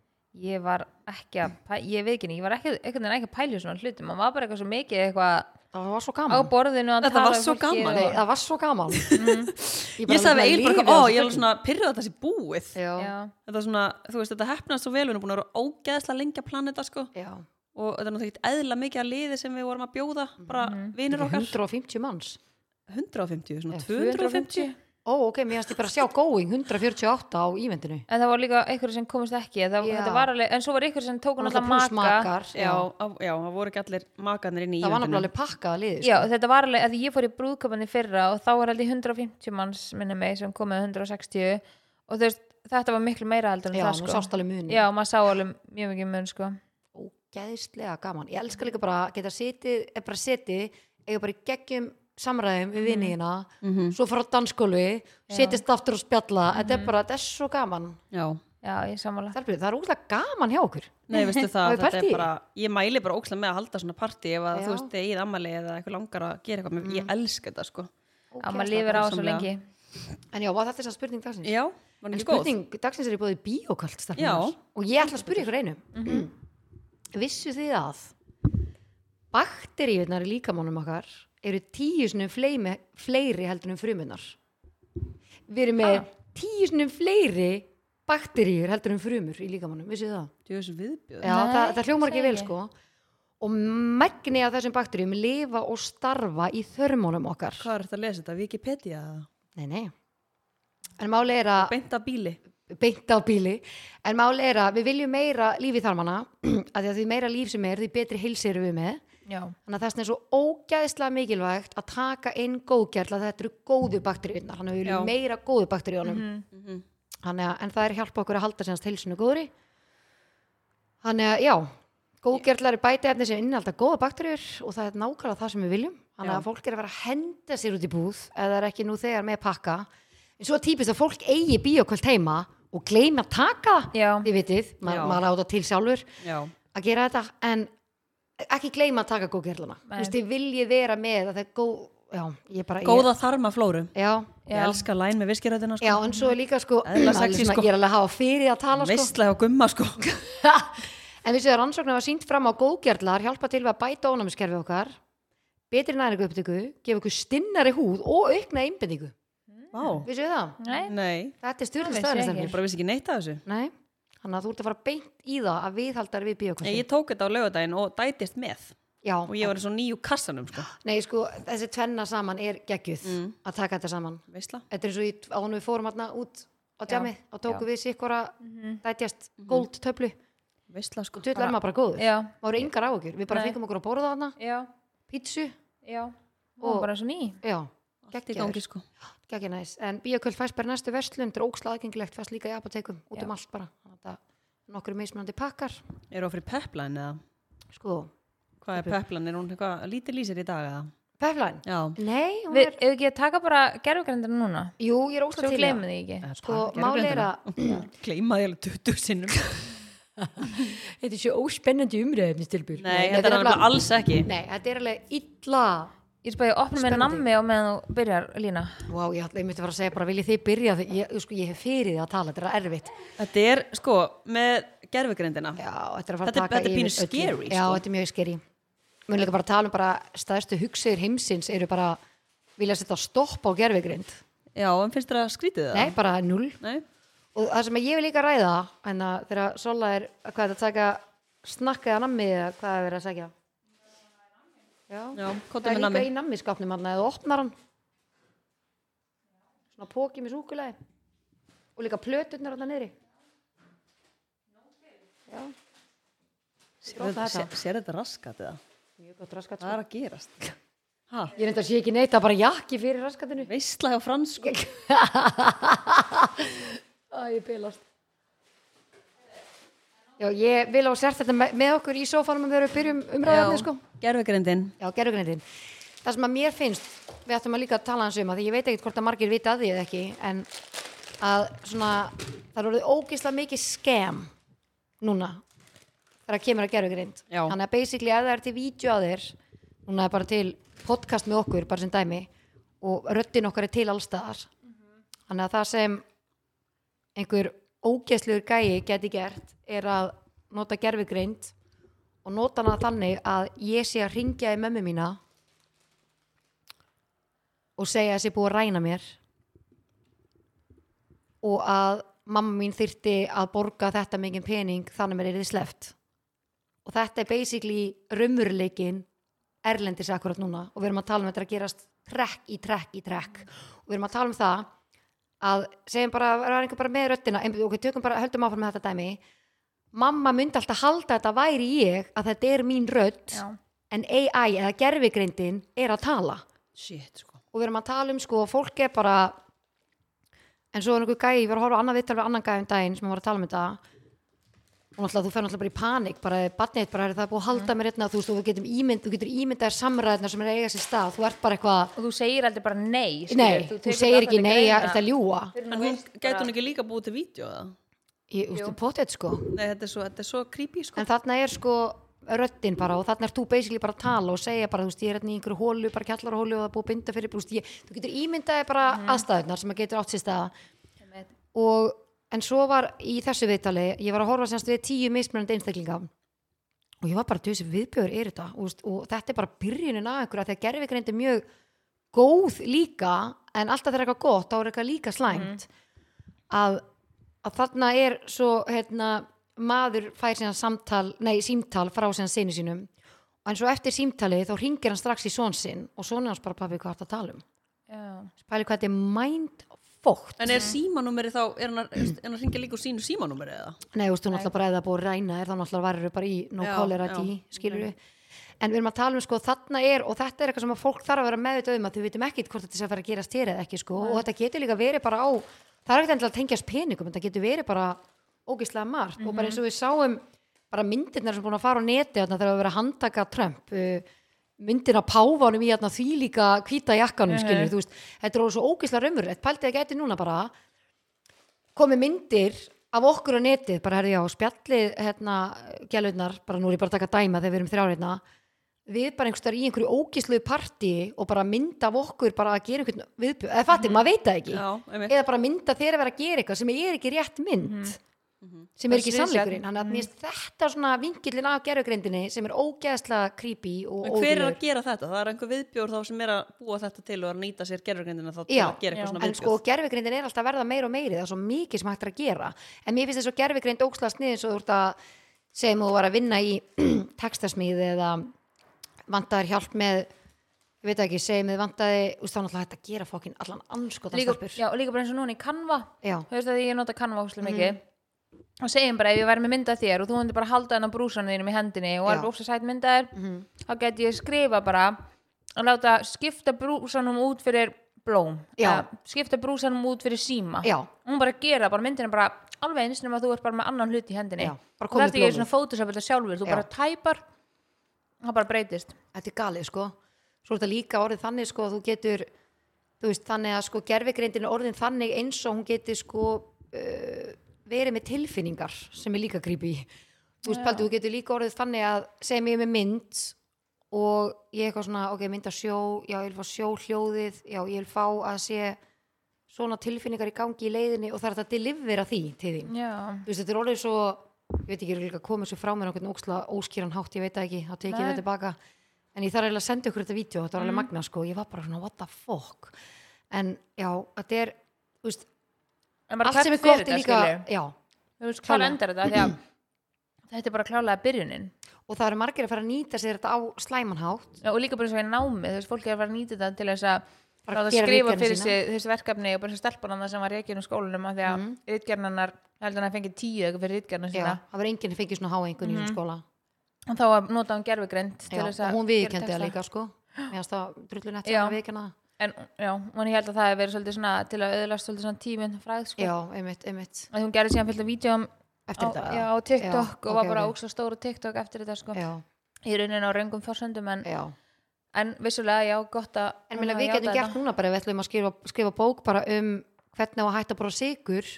ég var ekki að, pæ- ég veit ekki, ég var ekki einhvern veginn ekki að pæla í svona hlutum, maður var bara eitthvað svo mikið eitthvað
það var svo
á
gaman.
borðinu að
Mm. Þetta
tala
var
við
svo
fólkið
gaman.
Nei,
og-
það var svo gaman.
Mm.
<laughs>
Ég sagði við
eiginlega
eiginlega bara, ó, ég er alveg svona pyrrað að það sé búið
Já,
Já.
Þetta var svona, þú veist, þetta hefnast svo vel Við erum búin að vera ógeðslega lengi að planeta sko
já.
Og þetta er náttúrulega ekkert eðla mikið að liði sem við vorum að bjóða Bara vinir okkar
150 manns
150, svona
Mhm. Já,
250
Ó, ok, mér finnst ég bara að sjá going 148 á ívendinu
En það var líka einhverjum sem komist ekki það,
Já.
þetta var alveg, En svo var einhverjum sem tók
Og
hún
náttúrulega
alltaf
plús
maka,
makar
Já, á- já, það voru ekki allir makarnir inn í
Það var
eventinu.
náttúrulega alveg pakkað liðið
Já, þetta var alveg, að ég fór í brúðköpunni fyrra og þá var alveg 150 manns minni mig sem komið 160 og þú veist, þetta var miklu meira heldur en
já
það
nú
sko
sást alveg muni
Já, maður sá alveg mjög mikið mun sko
Ógeðslega gaman Ég elska líka bara að geta setið eða bara setið eiga bara í geggjum samræðum við vinniðina
Mhm.
svo fara á danskólu, setjast aftur og spjalla Þetta
Mhm.
er bara, þetta er svo gaman
Já,
Já, ég sammála
Það er, bara- það er útla gaman hjá okkur
Nei, veistu <laughs> það,
Hafið
þetta
partí?
er bara, ég mæli bara ókslega með að halda svona partí ef að
Já.
þú veist, ég er ammali eða eitthvað langar að gera eitthvað, mm. ég elska þetta sko.
Já, maður lifir á svo
dásamlega.
lengi
En já, var þetta þess að spurning dagsins?
Já, var
En
ekki góð.
spurning dagsins er í bóði bíókvöld
sko, Já.
stelpurnar. og ég ætla að spyrja ykkur einu Vissu þið að bakteríunar í líkamannum okkar eru tíu sinni fleimi, fleiri heldur en frumunar Við erum með tíu sinni fleiri bakteríur heldur en frumur í líkamannum, vissu þið það?
Þú veist viðbjöð.
Já,
Nei,
það, það hljómar ekki
sagði
vel
ég.
sko og megni af þessum bakteríum lifa og starfa í þörmónum okkar
Hvað er þetta að lesa þetta? Wikipedia?
Nei, nei En máli er að
Beint af bíli?
beint á bíli en máli er að við viljum meira líf í <clears throat> þarmana að því að því meira líf sem er því betri heilsi erum við með
Já,
þannig að þess er svo ógæðslega mikilvægt að taka inn góðgerðla þetta eru góðu bakteríunar þannig að
Já.
við viljum meira góðu bakteríunum
Mhm.
þannig að en það er að hjálpa okkur að halda sérnast heilsinu góðri þannig að já góðgerðlar er bæti efni sem innhalda góða bakteríur og það er nákvæmlega það sem við viljum þannig
Já.
að fólk er að vera að henda sér út í búð eða það er ekki nú þegar með pakka en svo er típist að fólk eigi bíókvöld heima og gleymi að taka það.
já,
þið vitið, ma
Já.
maður á það til sjálfur
Já.
að gera þetta en ekki gleyma að taka góðgerlana þú
Nei.
veist, ég vilji vera með að það er góð, já, ég bara
Góða þarmaflóru.
ég, já,
Ég elska læn með viskiröðina sko.
já, en svo er líka sko,
Eðla
alveg
sexy,
svona,
sko.
ég er alveg að hafa fyrir að tala sko.
Veistlega og gumma sko.
en við séum rannsóknum að sínt fram á góðgerlar hjálpa til við að bæta ónæmiskerfi okkar betri næringu upptöku gefa okkur stinnari húð og aukna einbindingu
<laughs> Vá.
vissu við það?
Nei,
Nei.
Þetta er stjórnum
Mm. Það vissi ég
Ég
stöðnistemnir
bara vissi ekki neitt af þessu.
Nei, þannig að þú ert að fara beint í það að viðhaldar við
Ég,
bíokostin
ég tók þetta á laugardaginn og dætist með.
Já,
Og ég var eins og nýju kassanum sko.
nei sko, þessi tvenna saman er geggjuð
Mm.
að taka þetta saman
Veistla.
Þetta er eins og ég, ánum við fórum hérna út á
Já,
djamið og tókum við sikkora Mm-hmm. dætjast góld töflu
Veistla sko.
og tull er maður bara góður
já,
Það voru yngar á okkur, við bara
Nei.
fengum okkur að borða þarna
já,
pítsu,
já
Og-
og bara eins og ný
já,
Allt í gangi sko.
geggjur næs en bíoköld fæst bara í næstu verslun, þetta er ókslega aðgengilegt fæst líka í apotekum, út
Já.
um allt bara Þannig að þetta er nokkru mismunandi pakkar
Er það fyrir peplæn eða?
sko,
Hvað er peplæn? Er hún eitthvað lítið lýsir í dag eða?
peflæn
Já.
Nei, hún
Við,
er,
ef ekki að taka bara gerfugrindina núna
jú, ég er
Svo
ókslega til í það.
gleymið þið ekki
Sko, málið er
<clears throat>
að
Gleimaði alveg 20 sinnum.
Þetta er svo óspennandi umræðum stilbúr
Nei, þetta er alveg alls ekki.
Nei, þetta er alveg illa
Ég spæði að opna með
Spennandi.
nammi og meðan þú byrjar lína
Vá, ég, ætla- ég myndi bara að segja bara viljið þið byrja því, ég, sko, ég hef fyrir því að tala, þetta er erfitt
Þetta er, sko, með gerfugrindina.
Já, þetta er að fara
Þetta er-
að taka
þetta er
yfir
pínu
öllu.
scary,
Já,
sko.
þetta er mjög skeri Mér líka bara að tala um bara staðstu hugsiður heimsins eru bara vilja setja stopp á gerfigrind
Já, en finnst þér að skrítið það?
Nei, bara null
Nei.
og það sem ég vil líka ræða en að þegar Sola er hvað er þetta að taka snakka eða nammi eða hvað er verið að segja Já,
Já,
það
kóta
er
með
líka
nami.
í nammi skapnum hann eða þú opnar hann svona póki með súkulegi og líka plöturnar hann niðri Já,
Sér
Prófa þetta.
sér þetta raskat eða?
mjög gott raskat
Hvað
sko.
er að gerast? Ha,
Ég reynda að sé ekki neitt að bara jakki fyrir raskatinu
veistla hjá fransku.
Æ, ég pilast Já, ég vil á sért þetta me- með okkur í sófanum að vera að byrjum umræðarni sko
gerfugrindin.
Já, gerðugrindin. Það sem að mér finnst, við ættum að líka að tala hans um að því ég veit ekkert hvort að margir vita að því eða ekki, en að svona, það er orðið ógislega mikið skem núna þegar að kemur að gerðugrind.
Já.
Þannig að basically að það er til vídeo að þér, núna er bara til podcast með okkur, bara sem dæmi, og röddin okkar er til allstaðar. Þannig að það sem einhver ógeðslegur gæi geti gert er að nota gerfugrind og nota hana þannig að ég sé að ringja í mömmu mína og segja að sé búið að ræna mér og að mamma mín þyrti að borga þetta mikið pening þannig að mér er þið sleft og þetta er basically raumurleikin erlendis akkurat núna og við erum að tala um þetta að gerast trekk í trekk í trekk og við erum að tala um það að segjum bara, það var einhver bara með röddina einbjörn, ok, tökum bara, höldum áfram með þetta dæmi mamma myndi alltaf halda að þetta væri ég að þetta er mín rödd
Já.
en AI eða gerfigreindin er að tala
Shit, sko.
og við erum að tala um sko að fólk er bara en svo er einhver gæi, ég var að horfa á annað vittal við annan gæi um daginn sem var að tala um þetta og náttúrulega þú fer náttúrulega bara í panik bara batnið bara er það er búið að halda mér hérna þú veist og þú getur ímynd, þú getur ímyndað samræðina sem er að eiga sér stað, þú ert bara eitthvað
Og þú segir aldrei bara nei skilur,
nei, þú,
tekur
segir
það
ekki
til
nei,
greina.
er þetta ljúa
Fyrr en
En
þú
hún,
veist
gæti
bara-
hún ekki líka búið til vídeo eða?
ég, þú veist, potið sko
Nei, þetta er svo, þetta er svo creepy, sko.
en þarna er sko röddin bara og þarna er þú basically bara að tala og segja bara, þú veist, ég er hérna í einhverju hólu bara kjallarhólu og það er búið að binda fyrir, þú veist, ég, þú getur ímyndaði bara aðstæðunar sem að getur átt sér staða
Einmitt.
og en svo var í þessu viðtali ég var að horfa semst við tíu mismunandi einstaklinga og ég var bara til þessi viðbjör er þetta og, veist, og þetta er bara byrjunin af einhverja þegar gerfigreind er mjög góð líka en alltaf þegar eitthvað gott þá er eitthvað líka slæmt að, að þarna er svo hérna, maður fær síðan samtal nei, símtal frá síðan sinni sínum en svo eftir símtalið þá ringir hann strax í són sinn og svona hans bara pappi hvað er að tala um
Já.
spæli hvað þetta er mindfókt
En er símanúmeri þá, er hann að, er hann að ringja líka úr sínu símanúmeri eða?
Nei, þú veist, þú náttúrulega bara eða búið að ræna þér, þá náttúrulega varir þau bara í no
Já,
callera
já.
tí, skilur við. En við erum að tala um sko, þarna er, og þetta er eitthvað sem að fólk þarf að vera meðvitað um að þau veitum ekkit hvort þetta sé að fara að gerast þér eða ekki sko, og þetta getur líka verið bara á, það er ekkit endilega að tengjast peningum, en það getur verið bara ógislega margt og
Mhm.
bara eins og við sáum bara myndirnar sem búin að fara á neti þarna þegar við verið að handtaka Trump, uh, myndin af páfanum í þarna því líka hvíta jakkanum, skilur þú veist, þetta er orðið svo ógislega raumurlegt, pæltið að gæti núna bara, komið myndir af okkur á netið, bara herði á spjallið hérna, gælutnar, bara nú er ég bara að taka dæma þegar við erum þrjár hérna við bara einhverstaðar í einhverju ógísluðu partí og bara mynda af okkur bara að gera einhvern viðbjöð, eða fattir, maður veit það ekki
Mhm. Já, einmitt. Mhm.
eða bara mynda þeir að vera að gera eitthvað sem er ekki rétt mynd sem er ekki
Bara sviðsett.
sannleikurinn þannig að mér finnst
Mhm.
þetta svona vingillin af gerðugreindinni sem er ógeðslega creepy og
En hver er
óvinnur
að gera þetta? Það er einhver viðbjór þá sem er að búa þetta til og er að nýta sér gerðurgrindina þá til
Já,
að gera
já.
eitthvað svona
en sko
viðbjór.
gerfugreindin er alltaf að verða meira og meiri það er svo mikið sem hægt er að gera en mér finnst þess að gerfugreind óksla sniðin svo þú ert að segjum þú var að vinna í <clears throat> textasmíði eða vantaðir hjálp með ég veit ekki, segjum þið vantaði úst, þá er náttúrulega hægt að gera fokkin allan anskotan
líka,
stelpur.
já, og líka bara eins og núna í Canva
Já.
þú veist að ég nota Canva óslega mikið
Mhm.
og segjum bara ef ég væri með mynda þér og þú hundi bara halda hennar brúsanu þínum í hendinni og
Já. Mhm.
er óslega sætt myndaðir þá get ég skrifa bara og láta skipta brúsanum út fyrir blóm,
Já.
Eða skipta brúsanum út fyrir síma
Já.
og hún bara gera bara myndina bara alveg eins nema að þú ert bara með annan hlut í hendinni
Já, bara
og
komið
þetta ekki
blómin.
svona photoshop þetta sjálfur þú
Já.
bara tæpar það bara breytist
þetta er galið sko svo er þetta líka orðið þannig sko að þú getur þú veist þannig að sko gerfigreindin er orðin þannig eins og hún getur sko uh, verið með tilfinningar sem er líka grípi þú veist paldi, þú getur líka orðið þannig að sem ég er með mynd og ég eitthvað svona, ok, mynd að sjó já, ég vil fá sjó hljóðið, já, ég vil fá að sé svona tilfinningar í gangi í leiðinni og það er þetta að delivera því til þín
já,
þú veist, þetta er orðið svo ég veit ekki, ég er líka komið svo frá mér okkur óksla, óskýran hátt, ég veit það ekki, þá tekið
Nei. Mm.
þetta tilbaka en ég þarf eiginlega að senda ykkur þetta vídeo þetta var alveg magna, sko, ég var bara svona, what the fuck en já, þetta er þú veist,
en bara
allt sem er
fyrir
gott
þetta,
er líka
skilurðu.
já,
þú veist hvað
Klálega.
endar þetta af því að þetta er bara klálega byrjunin
og það eru margir að fara að nýta sér þetta á slæman hátt
Já, og líka bara svo í námi, þú veist, fólk er að fara að nýta þetta til þess að
Bara
láta
gera
skrifa
ritgerðina
fyrir
sína.
sig þessi verkefni og bara þessi stelpunanna sem var reikinu skólanum af því að mm. ritgerðanar, heldur hann að fengi tíu eitthvað fyrir ritgerðanar
Mhm. já,
sína
það var enginn að fengið svona háengun í hún skóla
og þá að nota hann gerfugrind Mhm. til
já,
þess að
og hún
gera
viðkendi það
texta. <gasps>
líka, sko mér finnst það drullun eftir
Já.
að viðkenda það
en já, og ég held að það hefur verið svolítið svona til að öðlast svolítið svona tíminn fræð sko.
já, einmitt, einmitt,
að hún gerði síðan fullt af vídjum á,
eftir þetta
já, á TikTok og
ok,
var bara
ok.
ógst stóru TikTok eftir þetta sko.
já,
í rauninu á röngum forsöndum en,
já
en vissulega, já, gott að
En
hún
meina,
hafi
við
játað
getum gert núna bara, ef við ætlum að skrifa, skrifa bók bara um hvernig á að hætta bara sigur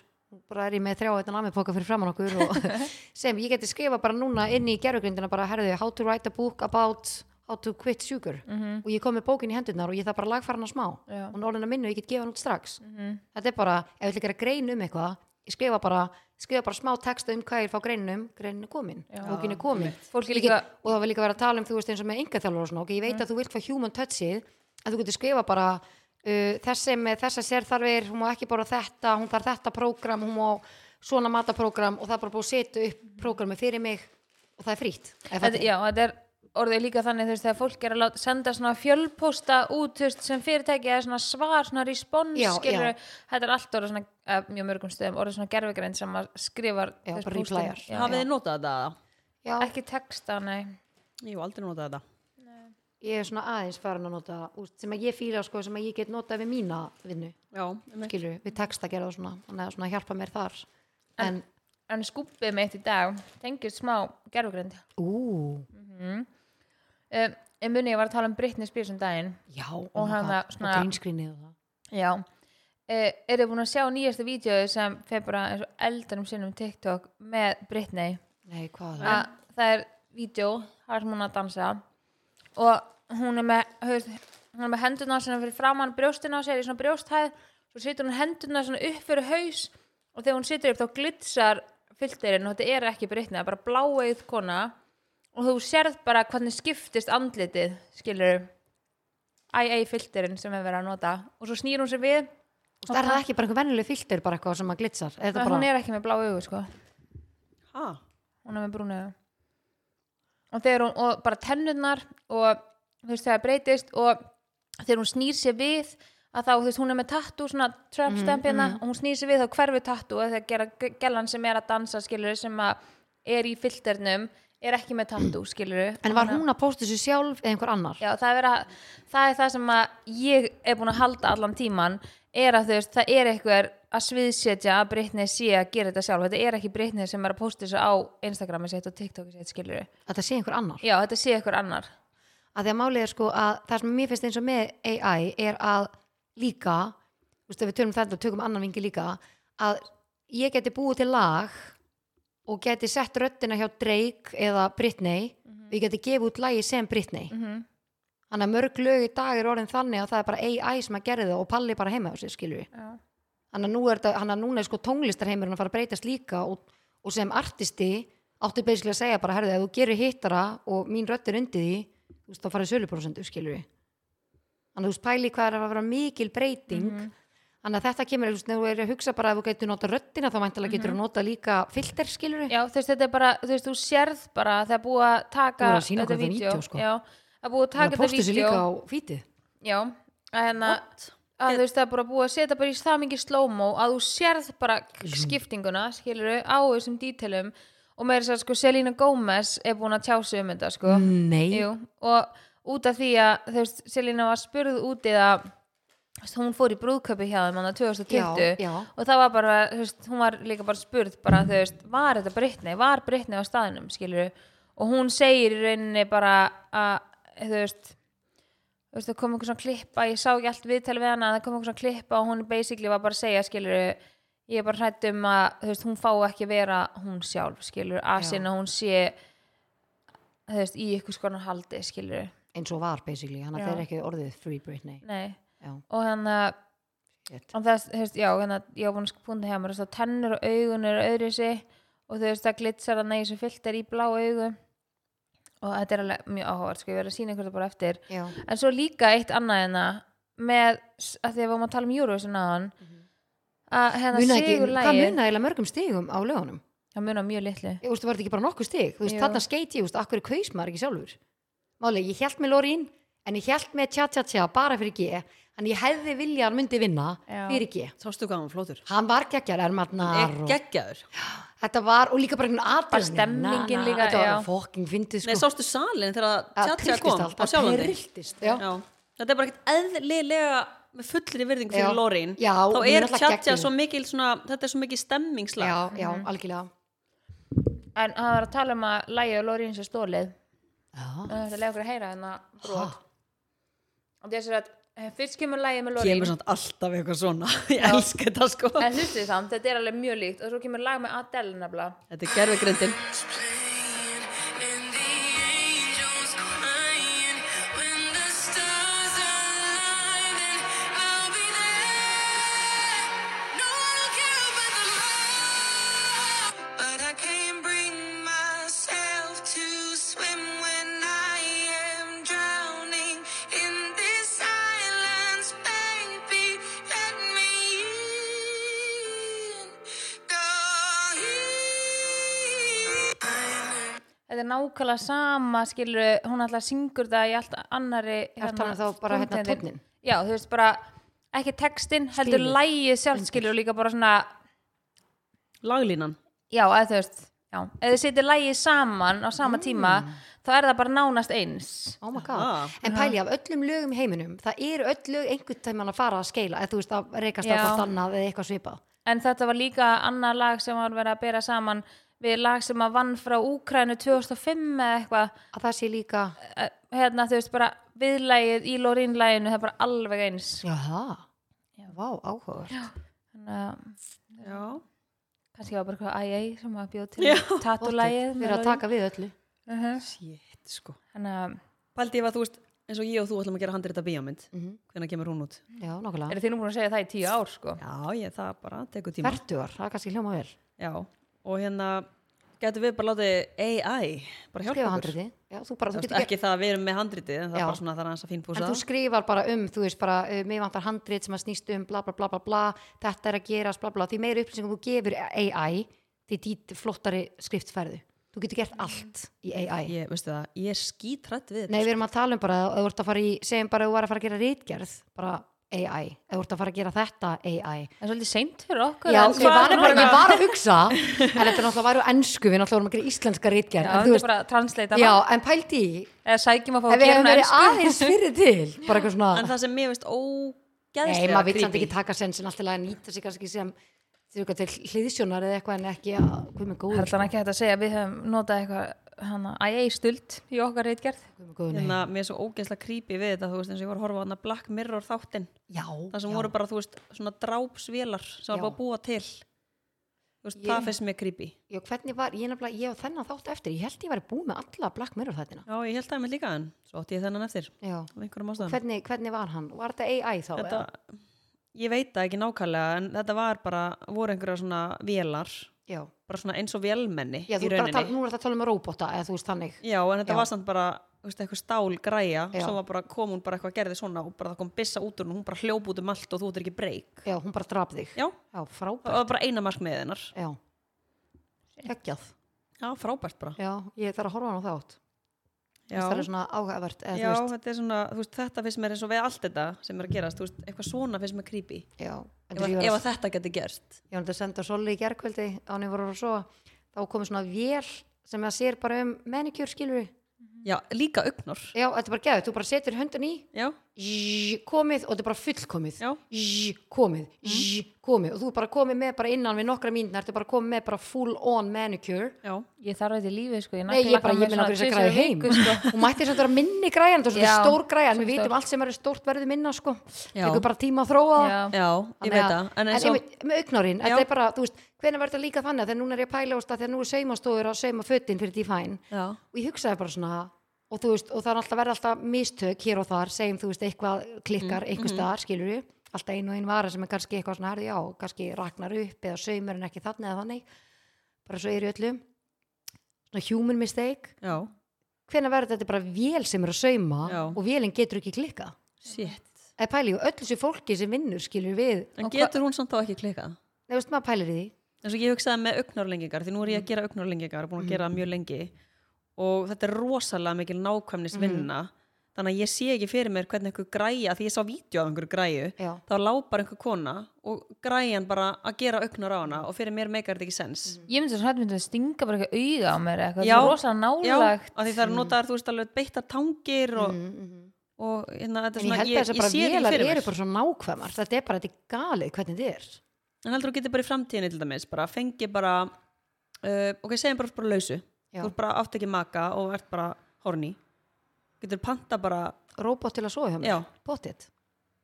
bara er ég með þrjá þetta námiðpoka fyrir framann okkur og <laughs> sem ég geti skrifa bara núna inn í gerfugrindina bara, herðu, how to write a book about how to quit sugar og ég kom með bókin í hendurnar og ég þarf bara að lagfæra hana smá
Mhm. Já. Mhm.
og orðin að minna og ég get gefa hana út strax þetta er bara, ef ég ætla að gera grein um eitthvað ég skrifa bara, skrifa bara smá texta um hvað ég vil fá greinin um, greinin er komin bókin er komin
Fólk er
Ég get-
líka-
og það var líka verið að tala um þú veist eins og með engaþjálfur og svona, ok, ég
Mm.
veit að þú vilt hvað human touchið, að þú getur skrifa bara uh, þessi með þessa sérþarfir hún má ekki bara þetta, hún þarf þetta prógram, hún má svona mataprógram og það er bara búið að setja upp prógrami fyrir mig og það er frítt eða
Mm. þetta,
fattar?
já, þetta er orðið líka þannig þú veist, þegar fólk er að láta, senda svona fjölpósta út þú veist, sem fyrirtæki eða svona svar svona respons
Já,
skilurðu. þetta er allt orðið svona eh, mjög mörgum stöðum orðið svona gerfugreind sem að skrifar
Já,
þess
bara
póstinn.
replyar.
Já.
Hafið þið notað þetta? eða?
já,
ekki texta, nei
Ég hef aldrei notað þetta.
ég er svona aðeins farin að nota úst, sem að ég fíla sko, sem að ég get notað við mína vinnu,
Já, einmitt.
skilur, við texta gera og svona, þannig að svona hjálpa mér þar en,
en skúpið mitt í dag tengist smá gerfugreind
ú,
um, en muni ég var að tala um Britney Spears um daginn
já oh
Og hann það svona-
grínskrinnið og það
já Uh, eru búin að sjá nýjasta vídeo sem fer bara eins og eldanum sinnum um TikTok með Britney
nei, hvað það,
að það er vídeo, þar sem hún er að dansa og hún er með höfð, hún er með hendurna svona fyrir framann brjóstin á sér í svona brjósthæð svo situr hún hendurna svona upp fyrir haus og þegar hún situr upp þá glitsar filterinn og þetta er ekki breytnið, bara bláeið kona og þú sérð bara hvernig skiptist andlitið, skilur IA filterinn sem er verið að nota og svo snýr hún sér við
það er það ekki bara einhver venjuleg filter bara eitthvað sem að glitsar, er þetta
en
bara
hún er ekki með blá augu sko
Ha?
hún er með brúnu augu. og þegar hún, og bara tennurnar og þú veist þegar breytist og þegar hún snýr sér við að þá, þú veist, hún er með tattu svona trap
Mm,
stampina og hún snýr sér við þá hverfi tattu og þegar gera gellan sem er að dansa skilur sem að er í filternum er ekki með tattu skilur
En var hún að posta þessu sjálf eða einhver annar?
Já, það er, vera, það er það sem að ég er búin að halda allan tíman er að þú veist, það er eitthvað að sviðsetja að Britney sé að gera þetta sjálf þetta er ekki Britney sem er að posta þessu á Instagrami sitt og TikToki sitt, skilur
Að það sé einhver annar?
Já, þetta sé eitthvað annar
Að því að málið er sko að það sem mér finnst eins og með um AI er að líka, þú veist, ef við tölum þetta og tökum annan vingi líka, að ég geti búið til lag og geti sett röddina hjá Drake eða Britney og ég geti gefið út lagi sem Britney
Mhm.
þannig að mörg lög í dag er orðin þannig að það er bara AI sem að gerði það og palli bara heima á sér skilur við
Já.
þannig að, nú er þetta- þannig að núna er sko tónlistarheimurinn að fara að breytast líka og, og sem artisti áttu basically að segja bara herðu, ef þú gerir hittara og mín rödd er undir því þú veist, þá farið söluprósendu skilur við þannig að þú veist pæli hvað er að vera mikil breyting
Mhm.
þannig að þetta kemur, þú veist, þegar þú er að hugsa bara að þú getur nota röddina þá mæntalega getur þú nota líka filter skilur
Mhm. Já, þú veist, þetta er bara, þú veist, þú sérð bara það er búið að taka
Búið að sýna okkur þetta
vídeó.
vídeó, sko.
Já, það er búið að
þannig
taka
að postu
þetta
sér
vídeo
líka á fítið
Já, en að, hérna, að þú veist, það er bara búið að setja bara í það mikið slow-mo að þú sérð bara skiptinguna, skilur á þessum dítelum og með þess að sko Selena Gomez er búin að tjá sig um þetta, sko
nei,
Jú, og út af því að þú veist, Selina var spurð út í það þú veist, hún fór í brúðköpi hjá þeim hann að 2020
Já, já.
og það var bara, þú veist, hún var líka bara spurð bara, þú veist, var þetta Britney, var Britney á staðinum, skilur og hún segir í rauninni bara að, þú veist þú veist, það kom einhver svona klippa, ég sá ekki allt viðtal við hana, það kom einhver svona klippa og hún basically var bara að segja, skilur ég er bara hrætt um að, þú veist, hún fá ekki vera hún sjálf, skilur, að
Já.
sinna hún sé þú veist, í ykkur skona haldi, skilur
eins og var basically, þannig að
Já.
það er ekki orðið free Britney
nei,
já,
og hérna
shit.
og þess, þú veist, já, hérna, ég var búin að púnta hjá mér þess að tennur og augun eru öðru sig og þú veist, það glitsar að neyja sem fyllt er í blá augu og þetta er alveg mjög áhugavert, sko, ég verið að sína ykkur það bara eftir
já,
en svo líka eitt annað hérna með, s- að því að við varum að tala um Eurovision aðan að hérna
muna Mhm. ekki,
sigur
hvað muna eiginlega mörgum stigum á lögunum,
það muna mjög litlu
ég veist, var þetta ekki bara nokkuð stig þú veist,
Jú.
þarna skeit ég, þú veist, akkur kaus maður ekki sjálfur máli, ég held með Lorín en ég held með tja tja tja bara fyrir G en ég hefði vilja að hann myndi vinna
Já.
fyrir G,
Sástu hvað hann var flótur?
hann var geggjar ermarnar
Ég
og
geggjaður.
Sko- Þetta var, og líka bara einhvern
Bara
aðdæðan
stemningin líka,
Þetta var
já.
fokking fyndið sko
Nei, sástu salin þegar
Að
Tjatja
trylltist
kom
allt,
á
að
sjálfandi?
trylltist, já.
Já. Þetta er bara ekkert eðlilega með fullri virðingu fyrir
Já.
Lorín.
Já,
Þá
hún er
er
náttúrulega
Tjatja
geggjuð.
svo mikil svona, þetta er svo mikil stemmingslag.
Já, já,
Mhm.
algjörlega
en það var að tala um að lægi og Lorín sér stólið
Já,
Það er að lega okkur að heyra hérna brot. Og þess er að eh, fyrst kemur lægið með Lorín.
Kemur samt alltaf eitthvað svona. <laughs> Ég elska þetta sko.
En hlustu samt, þetta er alveg mjög líkt. Og svo kemur lag með Adele nefnilega.
Þetta er gerfugrindin.
Þetta er nákvæmlega sama, skilur, hún alltaf syngur það í allt annari...
Ertu talað um þá bara hérna
framtíðin.
tónninn?
Já, þú veist bara, ekki textinn, heldur
Stílið.
lægið sjálf, skilur, og líka bara svona...
Laglínan.
Já, eða þú veist, já. Ef þið setið lægið saman á sama
Mm.
tíma, þá er það bara nánast eins.
oh my god
Ah.
En pæli af öllum lögum í heiminum Það eru öll lög einhvern tímann að fara að skeila eða þú veist að reykast á
Já.
hvort annað eða eitthvað svipað
En þetta var líka annað lag sem var verið að bera saman við lag sem að vann frá Úkrænu 2005 eða eitthvað
Að það sé líka
Eh, hérna þú veist bara viðlægið í Lorínlæginu það er bara alveg eins
Já, Vá, áhugavert
þannig að
Já.
kannski var bara eitthvað æj sem að bjóð til
Vottið,
tattulægið
Við erum að taka við öllu
Shit sko.
Mhm. þannig að
Paldi ef að þú veist, eins og ég og þú ætlum að gera handrita bíómynd. Mm
Mhm.
Hvenær kemur hún út?
Já, nokkulega
eru þið nú búin að segja það í tíu ár sko
Já, ég, það bara tekur tíma.
Fertuar, það er kannski hljóma vel
Já. Og hérna, getur við bara látið AI bara hjálpa
Skrifa
okkur.
handriti Já, þú bara,
Þú
þú
veist,
getur
ekki það að við erum með handritið en það
Já.
er bara svona það er aðeins að fínpúsa
en þú
það.
skrifar bara um, þú veist bara uh, mig vantar handrit sem að snýst um bla bla bla bla bla þetta er að gerast bla bla, því meira upplýsingum þú gefur AI, því dít flottari skriftfærðu, þú getur gert allt í AI,
Mm. ég, veistu það, ég er skítrætt við
nei við erum að tala um bara ef þú ert að fara í, segjum bara að þú var að fara að gera rítgerð, bara AI ef þú ert að fara að gera þetta AI
það er svolítið seint fyrir okkur
Já,
en
ég var,
þetta er
bara, ég
bara-
var að hugsa en þetta er náttúrulega væru ennsku, við náttúrulega vorum að gera íslenska
Já,
rítgerð, en
þetta
þú
er
veist
bara að translata
já,
það.
en pældi í
eða sækjum að fá
ef
að
við
gera
hefum
hún
verið
ensku
aðeins fyrir til bara eitthvað svona
en það sem mér veist
Nei,
ógeðslega
maður vill samt ekki taka sensin alltaf að nýta sig kannski sem þú veist, til hliðsjónar eða eitthvað en ekki að hvað með
það er
góður,
alltaf ekki hægt að segja að við höfum notað eitthvað hana æj stult í okkar reitgerð
hvað með góður,
hérna, mér er svo ógeðslega creepy við þetta þú veist eins og ég var að horfa á hana Black Mirror þáttinn
nei já,
það sem
já,
voru bara þú veist svona drápsvélar sem var
Já.
bara að búa til Þú veist,
Ég-
það finnst mér creepy
Já, hvernig var, ég nefnilega, ég á þennan þátt eftir, ég held ég væri búið með alla Black Mirror þættina.
Já, ég held það með líka en svo átti ég þennan eftir
Já.
af einhverjum ástæðum
Hvernig, hvernig var hann? Var þetta AI þá?
þetta,
eða?
Ég veit það ekki nákvæmlega en þetta var bara, voru einhverja svona vélar
Já.
bara svona eins og vélmenni í
Já, þú ert bara
rauninni
að tala, nú er þetta að tala um robota, eða þú veist þannig.
Já, en þetta
Já.
var samt bara þú veist, eitthvað stál græja
Já.
svo var bara, kom hún bara eitthvað gerði svona og bara það kom byssa út úr hún, hún bara hljóp út um allt og þú ert ekki breyk
Já, hún bara draf þig.
Já,
Já,
það
frábært.
var bara eina markmiðið hennar
Já. Ekkjað.
Já, frábært bara
Já, ég þarf að horfa á hann á þátt.
Já,
Það er svona áhugavert, eða
Já
þú veist.
þetta er svona, þú veist, þetta finnst mér eins og við allt þetta sem er að gerast, þú veist, eitthvað svona finnst mér creepy
Já.
ef,
En þú-
að-
ég
ef
var
að þetta geti gerst
ég var að senda Solli í gerkvöldi á hann ég voru að sofa. Þá komið svona vél sem að sér bara um manicure skilur.
Já, líka augnor
Já, þetta er bara geðið. Þú bara setur höndin í,
Já,
zzzz, komið og þetta er bara fullkomið.
já,
Zzzz, komið, zzzz, komið. Og þú bara komið með bara innan við nokkra mínutnar, þetta er bara komið með bara full on manicure.
já
Ég þarf þetta í lífið sko, ég
Nei, ég
naglakka
bara,
mig
ég minna okkur þess að
svona
græði heim
tvisvar í viku, sko.
<laughs> Hún mætti þess að vera minni græjan Þetta er
Já,
stór græjan, við
svo
vitum
stór.
allt sem er stórt verður minna sko.
Já.
Tekur bara tíma að þróa það
Já.
Já, ég veit það, en
en
eins og
einmitt, með augnárin, þetta er bara, þú veist hvenær verður þetta líka þannig að þegar núna er ég að pæla úst að þegar nú er saumastofur að sauma fötin fyrir Define
Já,
og ég hugsaði bara svona og þú veist, og það er alltaf verið alltaf mistök hér og þar, segjum þú veist, eitthvað klikkar mm, einhver staðar, skilur við, alltaf einu og einu vara sem er kannski eitthvað svona, herði já, kannski ragnar upp eða saumur en ekki þannig eða þannig bara svo er í öllum svona human mistake
já,
hvenær verður þetta bara vél sem er að sauma
Já.
og vélinn getur ekki klikkað
shit
eða pæli, og öll þessu fólki sem vinnur skilur við,
En
Og hva-
getur hún samt þá ekki klikkað?
Nei, veist, maður pælir í því
eins og ég hugsaði með augnárlengingar því nú
Mm.
er ég að gera augnárlengingar, búin að gera það mjög lengi og þetta er rosalega mikil nákvæmnisvinna
Mm.
þannig að ég sé ekki fyrir mér hvernig einhver græja því ég sá vídeo af einhverju græju
Já.
þá lápar einhver kona og græjan bara að gera augnar á hana og fyrir mér meikar þetta ekki sens
Mm.
Ég myndi svo hrætt myndi að stinga bara eitthvað auga á mér eitthvað,
Já.
það er rosa
Já,
nálagt
af því
Mm.
það er notaðar, þú veist, alveg beittar tangir og, og hérna, þetta er
En ég
Mm, svona,
held að
ég,
þess
ég,
að bara
sé þetta ekki
vélar
fyrir
eru
mér
bara svo nákvæmar þetta er bara, þetta er galið hvernig þetta er
En heldur þú getur bara í framtíðinni til dæmis bara fengi bara uh, ok, segjum bara, bara lausu
Já.
þú ert bara átt ekki maka og ert bara horni getur panta bara
Róbot til að sofa hjá
Já.
mér, pottit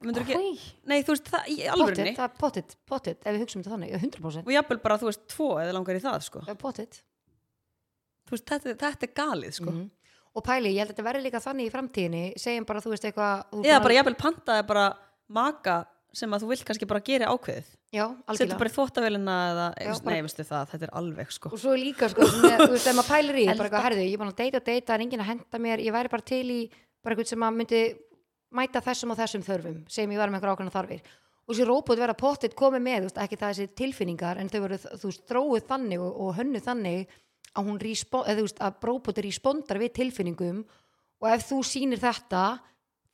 myndir ekki, nei þú veist það í alvörunni
Pottit, það er pottit, pottit, ef við hugsaum þetta þannig, 100%
og jafnvel bara þú veist tvo eða langar í það sko.
pottit
þú veist þetta, þetta er galið
Mhm.
sko.
og pæli, ég held að þetta verði líka þannig í framtíðinni segjum bara, þú veist eitthvað þú
eða bara jafnvel pantaði bara maka sem að þú vilt kannski bara gera ákveðið
já,
setur
algjörlega
bara í þvóttavélina eða,
Já,
veist,
bara-
nei veistu það, þetta er alveg sko.
og svo er líka, sko, svona, þú veist, ef maður pælir í því, bara eitthvað, herðu, ég er búin að deyta og deyta, það er enginn að henda mér ég væri bara til í, bara eitthvað sem að myndi mæta þessum og þessum þörfum sem ég var með einhver ákveðna þarfir og þessi róbot verða pottit komið með, þú veist, ekki það þessi tilfinningar en þau verður, þú veist, þróið þannig og, og hönnu þannig að hún respo- eða, þú veist, að róbot respondar við tilfinningum og ef þú sýnir þetta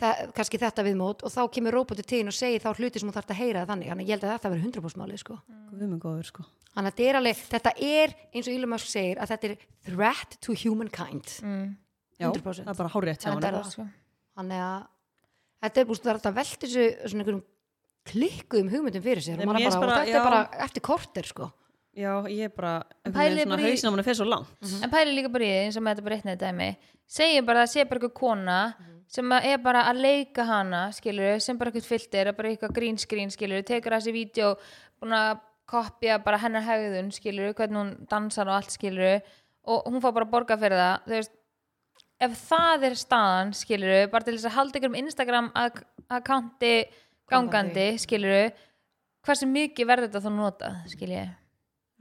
það, kannski þetta viðmót og þá kemur róboti til þín og segir þá hluti sem hún þarf að heyra þannig, þannig að ég held að þetta verður 100% málið sko.
Guð minn góður sko.
Þannig að þetta er alveg, þetta er eins og Elon Musk segir að þetta er threat to humankind
mm.
Já,
100%.
það er bara hárétt hjá
Þannig
hann
að þetta er það. sko. Þannig að þetta er búin að þetta velti þessu svona einhverjum klikkuðum hugmyndum fyrir sér
Nei,
og maður
mér
bara,
finnst bara-
og þetta er
já.
bara eftir korter sko.
já, ég er bara,
Pælið
svona
bara í-
hausinn á manni fyrir svo langt
Mhm.
En pæli líka bara í því eins og með þetta breytnið dæmi segjum bara að það sé bara eitthvað kona sem að er bara að leika hana skilur, sem bara eitthvað filter að bara eitthvað green screen skilur, tekur þessi vídeo búin að kopja bara hennar hegðun skilur, hvernig hún dansar og allt skilur og hún fá bara að borga fyrir það þú veist, ef það er staðan skilur, bara til þess að halda ykkur um Instagram ak- accounti gangandi skilur, hversu mikið verður þetta þá notað skilur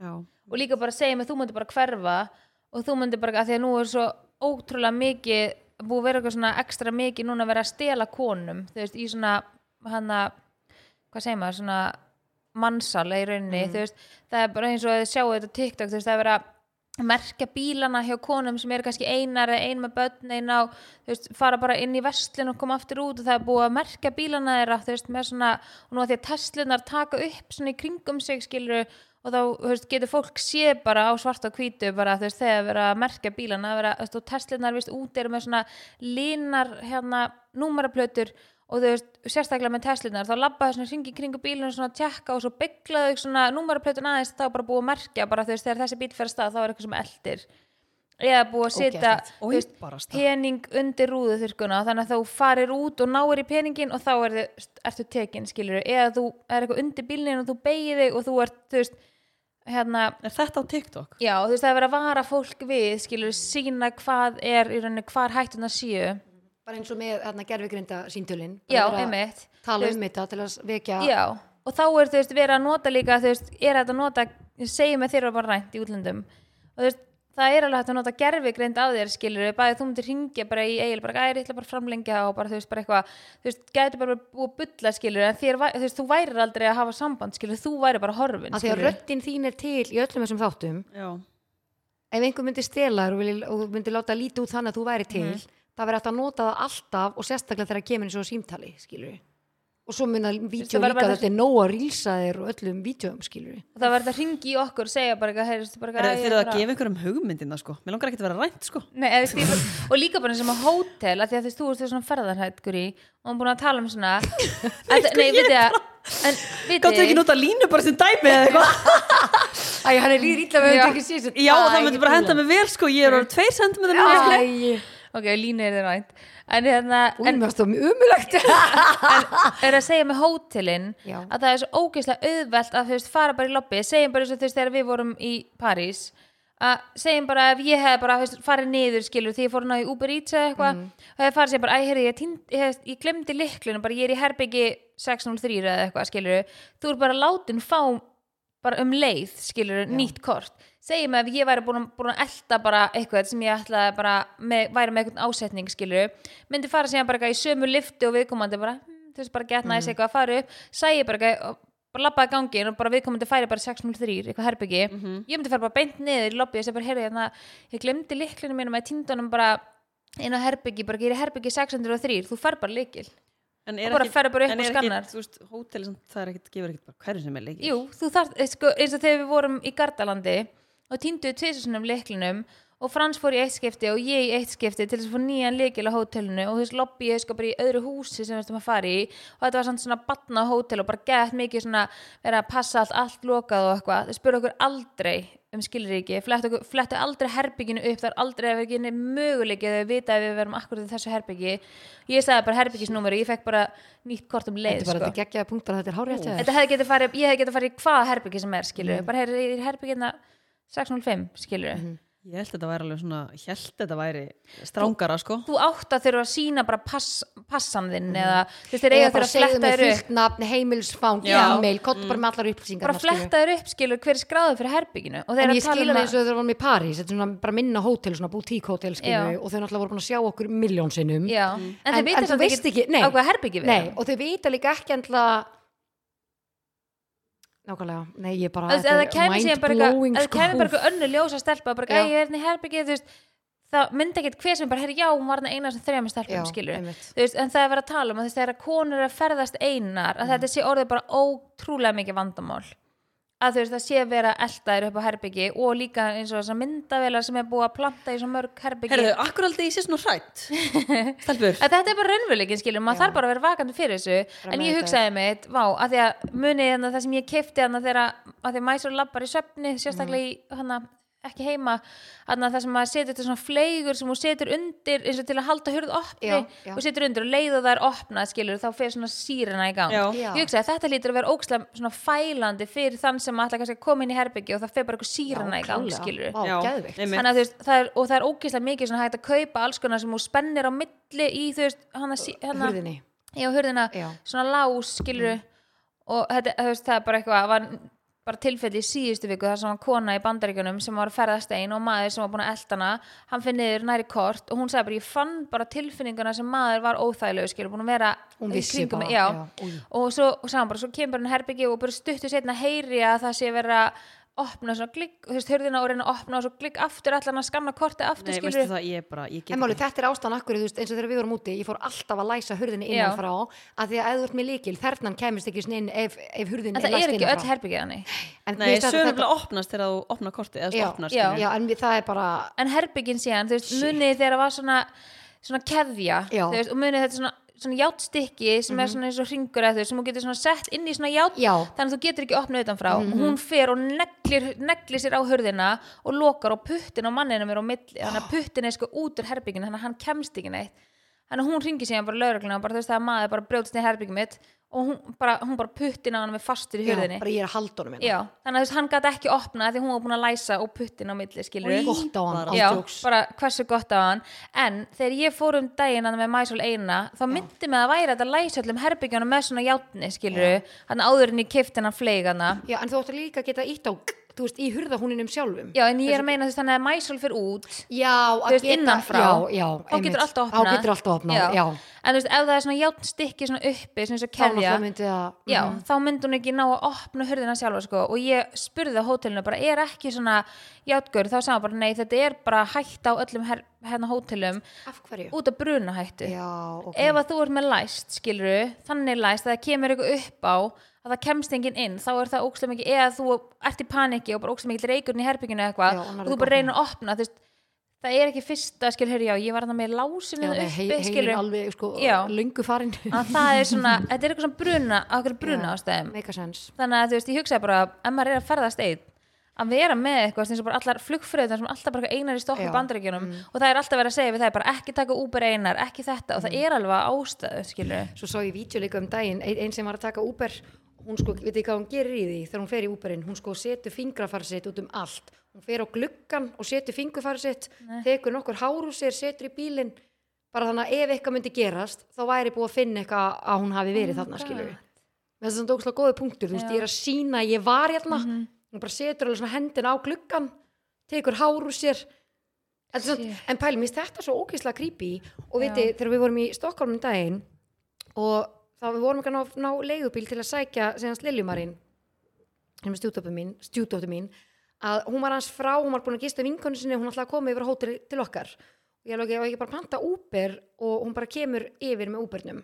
já
og líka bara segja mig þú myndir bara hverfa og þú myndir bara, að því að nú er svo ótrúlega mikið, búið að vera eitthvað svona ekstra mikið núna að vera að stela konum þú veist, í svona hana, hvað segir maður, svona mannsal í rauninni, þú veist það er bara eins og að þið sjáu þetta á TikTok þú veist, það er verið að merka bílana hjá konum sem eru kannski einar eða ein með börn ein á, þú veist, fara bara inn í verslun og koma aftur út og það er búið að merka bílana þeirra, þú veist, með svona og nú að því að Teslunar taka upp svona í kringum sig skilur og þá, þú veist, getur fólk sé bara á svart og hvítu bara, þú veist, þegar verið að merka bílana það er verið að, þú veist, og Teslunar, veist, út eru með svona linar, hérna, númaraplötur og þú veist, sérstaklega með Teslunar þá labba þau svona hringi kringu bílinu og svona tjekka og svo byggla þau svona númaraplötun aðeins þá er bara búið að merkja, bara þú veist, þegar þessi bíl fer að stað þá er eitthvað sem eldir eða búið að setja
Ógeðslegt.
þú veist,
Óbarasta.
pening undir rúðuþurkuna þannig að þú farir út og náir í peningin og þá er þið, ertu tekin skilur eða þú er eitthvað undir bílinn og þú beigir þig og þú ert þú veist, hérna,
Er þetta á TikTok?
já, þú veist, það er verið að vara fólk við, skilur, sína hvað er, í rauninni, hvar hættuna séu.
bara eins og með hérna, gerfigrinda síntölin
Já, einmitt. Þú
tala
veist-
um þetta til að vekja
Já, og þá er, þú veist, verið að nota líka, þú veist, er þetta að nota, segjum að þeir eru bara rænt í útlöndum. Og þú veist, það er alveg hægt að nota gerfigreind á þér, skilur við, bæði þú myndir hringja bara í eigil, bara, æri, ég ætla bara að framlengja og bara, þú veist, bara eitthvað, þú veist, gæti bara búið að bulla, skilur en þér, væ- þú veist, þú værir aldrei að hafa samband, skilur þú væri bara horfin,
að því að
skilurðu.
röddin þín er til í öllum þessum þáttum
Já.
ef einhver myndi stela þér og, vilji- og myndi láta lítið út þannig að þú væri til
Mhm.
það verður hægt að nota það alltaf og sérstaklega þegar það kemur eins og símtali skilur og svo mun að vídeo
það verður
líka
bara-
þetta er nóg að rílsa þér og öllum vídeoum skilur
Og það var þetta hringi í okkur, segja bara eitthvað, heyrðu, bara
Er
eitthvað, æ,
þið að
bara-
gefa einhverjum hugmyndina sko? Mér langar ekki að vera rænt sko.
Nei, eða, þú veist, ég- og líka bara sem á hótel að því að þú veist, þú ert svona ferðarhætkur í og hún er búin að tala um
<laughs>
svona að, nei,
ég
veit ég að en, vitið
Gáttu
þið-
ekki nota línu bara sem dæmi eða eitthvað?
Æ, hann er rýr illa við
Já.
þetta ekki síðan
Já, það myndi bara henda mig vel sko, ég er orðið tveir sentimentar línu sko.
Æ,
ok, línu er þið rænt en hérna, en
búin með það mjög
<laughs>
umulegt
er að segja með hótelin
Já.
að það er svo ógeðslega auðvelt að þú veist, fara bara í lobby, segjum bara eins og þú veist þegar við vorum í París að segjum bara ef ég hefði bara þú veist, farið niður skilur því ég fór ná í Uber Eats eða eitthvað og hefði farið sér bara, æ, heyrðu, ég, týnd- ég, hef- ég glemdi liklunum, bara ég er í herbyggi 603 eða eitthvað, skilur þú er bara látin fá bara um leið, skilur, nýtt kort segjum ef ég væri búin, að- búin að elta bara eitthvað sem ég ætlaði bara með, væri með eitthvað ásetning, skilur myndi fara síðan bara eitthvað í sömu liftu og viðkomandi bara, hm, þú veist, bara getna þessi eitthvað að fara upp sægi bara eitthvað og bara labbaði gangin og bara viðkomandi færi bara 603 eitthvað herbyggi, ég myndi fara bara beint niður í lobby og segja bara, heyrðu, hérna, ég glemdi liklinu mínum að tíndunum bara inn á herbyggi, bara gerir herbyggi 603 þú fær bara likil,
En
Og bara ferðu bara upp
en
og
er
skannar.
Ekki, þú veist, hóteli, samt, það er ekkit, gefur ekkit bara hverju sem er leikir.
Jú, þú þarft, eh, sko, eins og þegar við vorum í Gardalandi og týnduðu tvisasunum leiklinum og Frans fór í eitt skipti og ég í eitt skipti til þess að fá nýjan leikil á hótelinu og þess lobby ég sko bara í öðru húsi sem við stum að fara í og þetta var samt svona batna á hótel og bara gett mikið svona vera að passa allt, allt lokað og eitthvað þau spurðu okkur aldrei um skilríki flettu, okkur, flettu aldrei herbygginu upp það er aldrei að vera ekki möguleiki að þau vita að við verum akkur til þessu herbyggi ég sagði bara herbyggisnúmeri, ég fekk bara nýtt kort um leið
Þetta er bara
sko.
þetta geggjaða punktar, þetta er hárétt hjá þér.
Þetta hefði getið farið, ég hefði getið farið í hvaða herbyggi sem er, skilur
Mm.
bara heyrðu, ég er herbyggina 605, skilur
Mhm.
Ég held þetta væri alveg svona, ég held þetta væri strangara sko.
Þú átt að þurfa að sína bara pass, passan þinn eða, þú veist, þeir eiga
Mhm. Eða
að
bara
þurfa að
segðu
fletta
mig
þér upp
fullt nafn, heimilsfang,
Já.
e-mail, kottu bara með allar upplýsingar
bara fletta þér upp, skilur, hver er skráður fyrir herbygginu og þeir
hérna, En
eru
ég
að tala
skil
um
það
að
eins og þegar við varum í París, þetta er svona bara minna hótel, svona boutique hótel skilur
Já.
við, og þau náttúrulega voru búin að sjá okkur miljón sinnum.
Já, en þeir
Mm. En- en
vita
þú
samt
veist
ekki
ekki- nei.
á hvaða herbyggi við
Nei,
erum.
og þau vita líka ekki endla Nákvæmlega, nei ég bara
Þú veist, ef það kæmi síðan bara eitthvað-
mind-blowing,
ef það kæmi bara
sko.
eitthvað önnu ljósa stelpa bara,
Já.
eitthvað, "Æ, ég er hérna í herbyggið, þú veist það myndi ekkert hver sem bara, herri, já, hún var hérna eina sem þrejum
Já,
stelpum, skilur
einmitt.
Þú veist, en það er verið að tala um að þess að konur eru að ferðast einar
Mm.
að þetta sé orðið bara ótrúlega mikið vandamál að þú veist það sé að vera eldaðir upp á herbyggi og líka eins og þessar myndavelar sem er búið að planta í svo mörg herbyggi
Herðu, akkur aldrei ég sé svona
<laughs>
hrætt. Stelpur.
að þetta er bara raunvöleikin skilur, maður þarf bara að vera vakandi fyrir þessu en ég
meðvitaður.
hugsaði mitt, vá, að því að munið hérna það sem ég kefti hérna þegar að af því að mæsur labbar í söfni, sérstaklega í hana, ekki heima, hana það sem maður setur til svona fleigur sem hún setur undir eins og til að halda hurð opni
Já, já.
og setur undir og leiða það er opnað skilur þá fer svona sírena í gang
Já.
ég hugsaði að þetta lítur að vera ókslega svona fælandi fyrir þann sem ætla kannski að koma inn í herbyggi og það fer bara eitthvað sírena í gang skilur
Vá,
Já,
geðveikt.
einmitt.
þannig að þú veist, það er, og það er ógeðslega mikið svona hægt að kaupa alls konar sem hún spennir á milli í þú veist, hana, sí- hana
Hurðinni.
já, hurðina,
Já. Mm.
svona lás skilur og þetta, þú veist, það er bara eitthvað var bara tilfelli í síðustu viku þar sem var kona í bandaríkjunum sem var að ferðast einn og maður sem var búin að elda hana hann finn niður næri kort og hún sagði bara ég fann bara tilfinninguna sem maður var óþægilegu skilur búin að vera
Hún
í
vissi
kringum
bara,
mig, já.
já, új.
og svo, og sagði hann bara, svo kemur bara hann herbyggi og bara stuttu setna heyri að það sé vera opna svona glikk, þú veist, hurðina og reyna að opna og svo glikk aftur allan að skanna korti aftur
Nei,
skilur
veistu það, ég er bara, ég get
En máli, þetta er ástæðan akkur, þú veist, eins og þegar við vorum úti, ég fór alltaf að læsa hurðinni
Já.
innan frá, að því að ef þú ert með líkil, þernan kemist ekki svona inn ef, ef hurðin
en það er
læst
ekki
innan
öll
hérna frá.
herbyggið hann
En
Nei,
mér finnst
sögur
þetta-
nefnilega opnast þegar þú opnar kortið, eða
Já,
opnast. hérna.
já.
Já, en við, það er bara,
en herbyggin síðan, þú veist, munið þegar það var svona, svona keðja
Já. Mhm.
þú veist, og munið þetta svona, svona játstykki sem er svona eins og hringur eða þú veist, sem hún getur svona sett inn í svona ját
Já. Mhm.
þannig að þú getur ekki opnað utanfrá og hún fer og neglir, neglir sér á hurðina og lokar og puttin á manninum er á milli þannig að puttin er sko út úr herbygginu þannig að hann kemst ekki neitt þannig að hún ringi síðan bara lögregluna og bara þú veist það er maður bara brjóðst í herbyggum mitt og hún bara, hún bara puttin á hann með fastur í
Já,
hurðinni
bara ég er að halda honum hérna.
Já, þannig að þú veist, hann gæti ekki opnað því hún var búin að læsa og puttin á milli, skilur
hérna gott á hann,
Já,
ándjóks
bara hversu gott á hann En þegar ég fór um daginn hann með Mæsól eina þá myndi mig að væri þetta læsa öllum herbyggjónum með svona játni, skilur hann áður en ég kifti hennan fleigana
Já, en þú áttu líka að geta ítt á þú veist, í hurðahúninum sjálfum
Já, en ég er að meina þess þannig að Mæsól fyrir út
Já, að
þú veist, innanfrá
Já, já,
þá getur alltaf opnað
Þá getur alltaf opnað, já,
en þú veist, ef það er svona játn stykki svona uppi, svona svo
Þá
keðja
náttúrulega Mhm. myndi að
já, þá myndi hún ekki ná að opna hurðina sjálfa sko, og ég spurði á hótelinu bara, er ekki svona játgur, þá sagði hann bara, nei, þetta er bara hægt á öllum her, hérna hótelum
Mm. Af hverju?
út af brunahættu
Já, ok
ef að þú ert með læst, skiluru þannig læst að það kemur eitthvað upp á að það kemst enginn inn, þá er það ókslega mikið eða þú ert í paniki og bara ókslega mikið reykurinn í herbygginu eða
Já,
eitthvað
hún er
og þú
að
bara reynir að opna þú veist, það er ekki fyrsta, skil, hörru, já, ég var þarna með lásinu
Já,
uppi,
hei, heilin
skilur
alveg, sko,
Já.
löngu farin <laughs>
að það er svona, þetta er eitthvað svona bruna á okkur bruna ástæðum
Make a sense
þannig að þú veist, ég hugsaði bara, ef maður er að ferðast einn að vera með eitthvað, eins og bara allar flugfröðunar sem alltaf bara eitthvað einar í stokku
Já, Mm.
bandaríkjunum og það er alltaf verið að segja við það, bara ekki taka Uber einar, ekki þetta og það
Mm.
er alveg ástæðu, skilur
Svo sá ég vídeo líka um daginn ein, ein sem var að taka Uber hún sko, veit ekki hvað hún gerir í því þegar hún fer í Uberinn, hún sko setur fingrafar sitt út um allt, hún fer á gluggan og setur fingrafar sitt, tekur nokkur hár úr sér, setur í bílinn bara þannig að ef eitthvað myndi gerast þá væri búið að finna eitthvað að hún hafi verið þarna skilur við. Þess að það er ógslag góði punktur, þú veist, ég er að sína að ég var hérna, hún bara setur alveg svona hendin á gluggan, tekur hár úr sér en, svona, en pæli, mér finnst þetta svo ógeðslega creepy og viti, þegar við vorum í Stokkólum daginn og þá við vorum ekki að ná, ná leigubíl til að sækja segjast Liljumarinn sem er stjúdóttu mín, stjúdóttu mín að hún var hans frá, hún var búin að gista vinkonu sinni hún ætlaði að koma yfir á hótel til okkar og ég alveg, ég var ekki bara að panta Uber og hún bara kemur yfir með Ubernum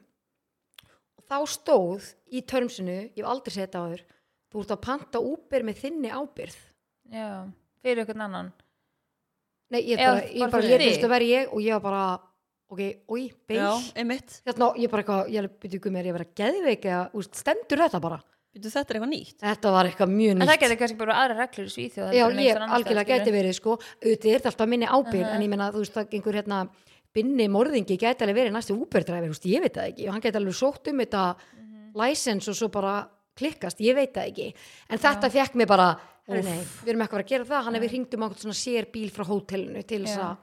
og þá stóð í törmsinu, ég hef aldrei sett á þér þú ert að panta Uber með þinni ábyrð
Já, fyrir einhvern annan
nei, ég
Já,
bara, ég
bara
bara,
fyrir
ég
þig.
finnst að vera ég og ég var bara, ok, oi,
Já,
beis
einmitt.
þarna, ég bara eitthvað, ég byrju ykkur mér ég vera geðveik eða, úst, stendur þetta bara
Býtu, þetta er eitthvað nýtt.
Þetta var eitthvað mjög
En
nýtt.
það getur kannski bara verið aðra reglur í Svíþjóð
Já, ég algjörlega geti verið sko, auðvitað er þetta alltaf minni ábyrg, en ég meina þú veist að einhver hérna binni morðingi gæti alveg verið næstu úberdræfir, veist, ég veit það ekki, og hann gæti alveg sótt um þetta
Mhm.
license og svo bara klikkast, ég veit það ekki, en þetta fekk mig bara, herri, nei, við erum eitthvað að gera það, hann hefur hringt um ákveð svona sér bíl frá hótelinu til þess
Já.
að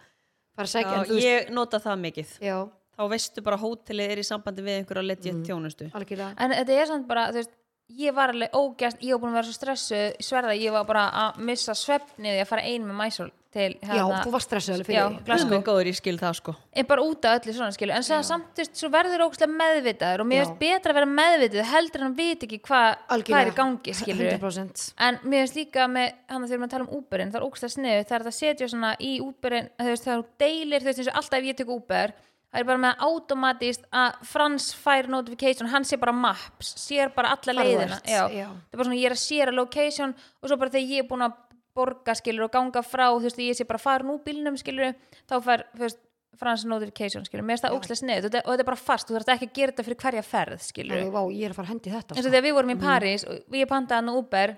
fara að segja, en
Já,
þú veist,
ég nota það mikið.
já,
Þá veistu bara hótelið er í sambandi við einhverja legit
Mhm.
þjónustu.
algjörlega,
En þetta er samt bara, þú veist Ég var alveg ógæst, ég var búin að vera svo stressuð sverða, ég var bara að missa svefnið að fara ein með mæsól til hérna,
já, þú varst stressað alveg fyrir
Já,
því.
Glasgow.
Guðmund góður, ég skil það sko.
en bara út af öllu svona skilu en svo samt, þú veist, svo verður ógstlega meðvitaður og mér
Já.
finnst betra að vera meðvitið heldur en að vita ekki hva, hvað er í
<laughs>
gangi skilu
100%.
en mér finnst líka með hann að þegar maður tala um Uberin, það er ógstlega sniðu það er að setja svona í Uberin þú veist, þegar þú deilir, þú veist, eins og alltaf ef ég tek Uber það er bara með automatist að Frans fær notification, hann sé bara maps, sér bara alla
Hvar þú
leiðina
ert, já.
það er bara svona, ég er að séra location og svo bara þegar ég er búin að borga skilur og ganga frá, þú veist, ég sé bara farin úr bílnum skilur, þá fær, þú veist Frans notification skilur, mér finnst það ógstlega sniðu og þetta- og þetta er bara fast, þú þarf ekki að gera þetta fyrir hverja ferð skilur
Alveg, vá, ég er að fara að hendi þetta.
eins
sko.
og þegar við vorum í París og ég pantaði hann Uber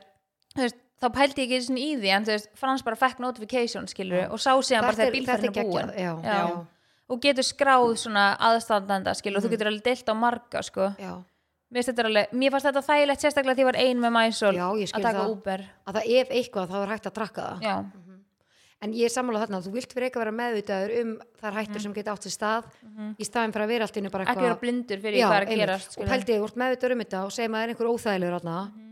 þú veist, þá pældi ég ekki svona í því en þú veist, Frans bara fekk notification skilur og sá síðan bara
Þetta er-
þegar bílferðin
þetta er
er búin
geggjað, já, já. Mhm.
og getur skráð svona aðstandanda skilur og þú getur alveg deilt á marga sko.
Já.
mér, finnst þetta alveg, mér fannst þetta þægilegt sérstaklega því ég var ein með Mæsól
Já, ég
að
skil
taka
það.
Uber
að það ef eitthvað þá er hægt að drakka það
já,
en ég er sammála þarna að þú vilt fyrir eitthvað vera meðvitaður um þar hættur sem geta átt sér stað í staðin fyrir að vera allt innu bara
Mhm. ekki
eitthvað
vera blindur fyrir hvað er að gera
og pældi ég vort meðvitaður um þetta og segja maður er einhver óþægilegur þarna
Mhm.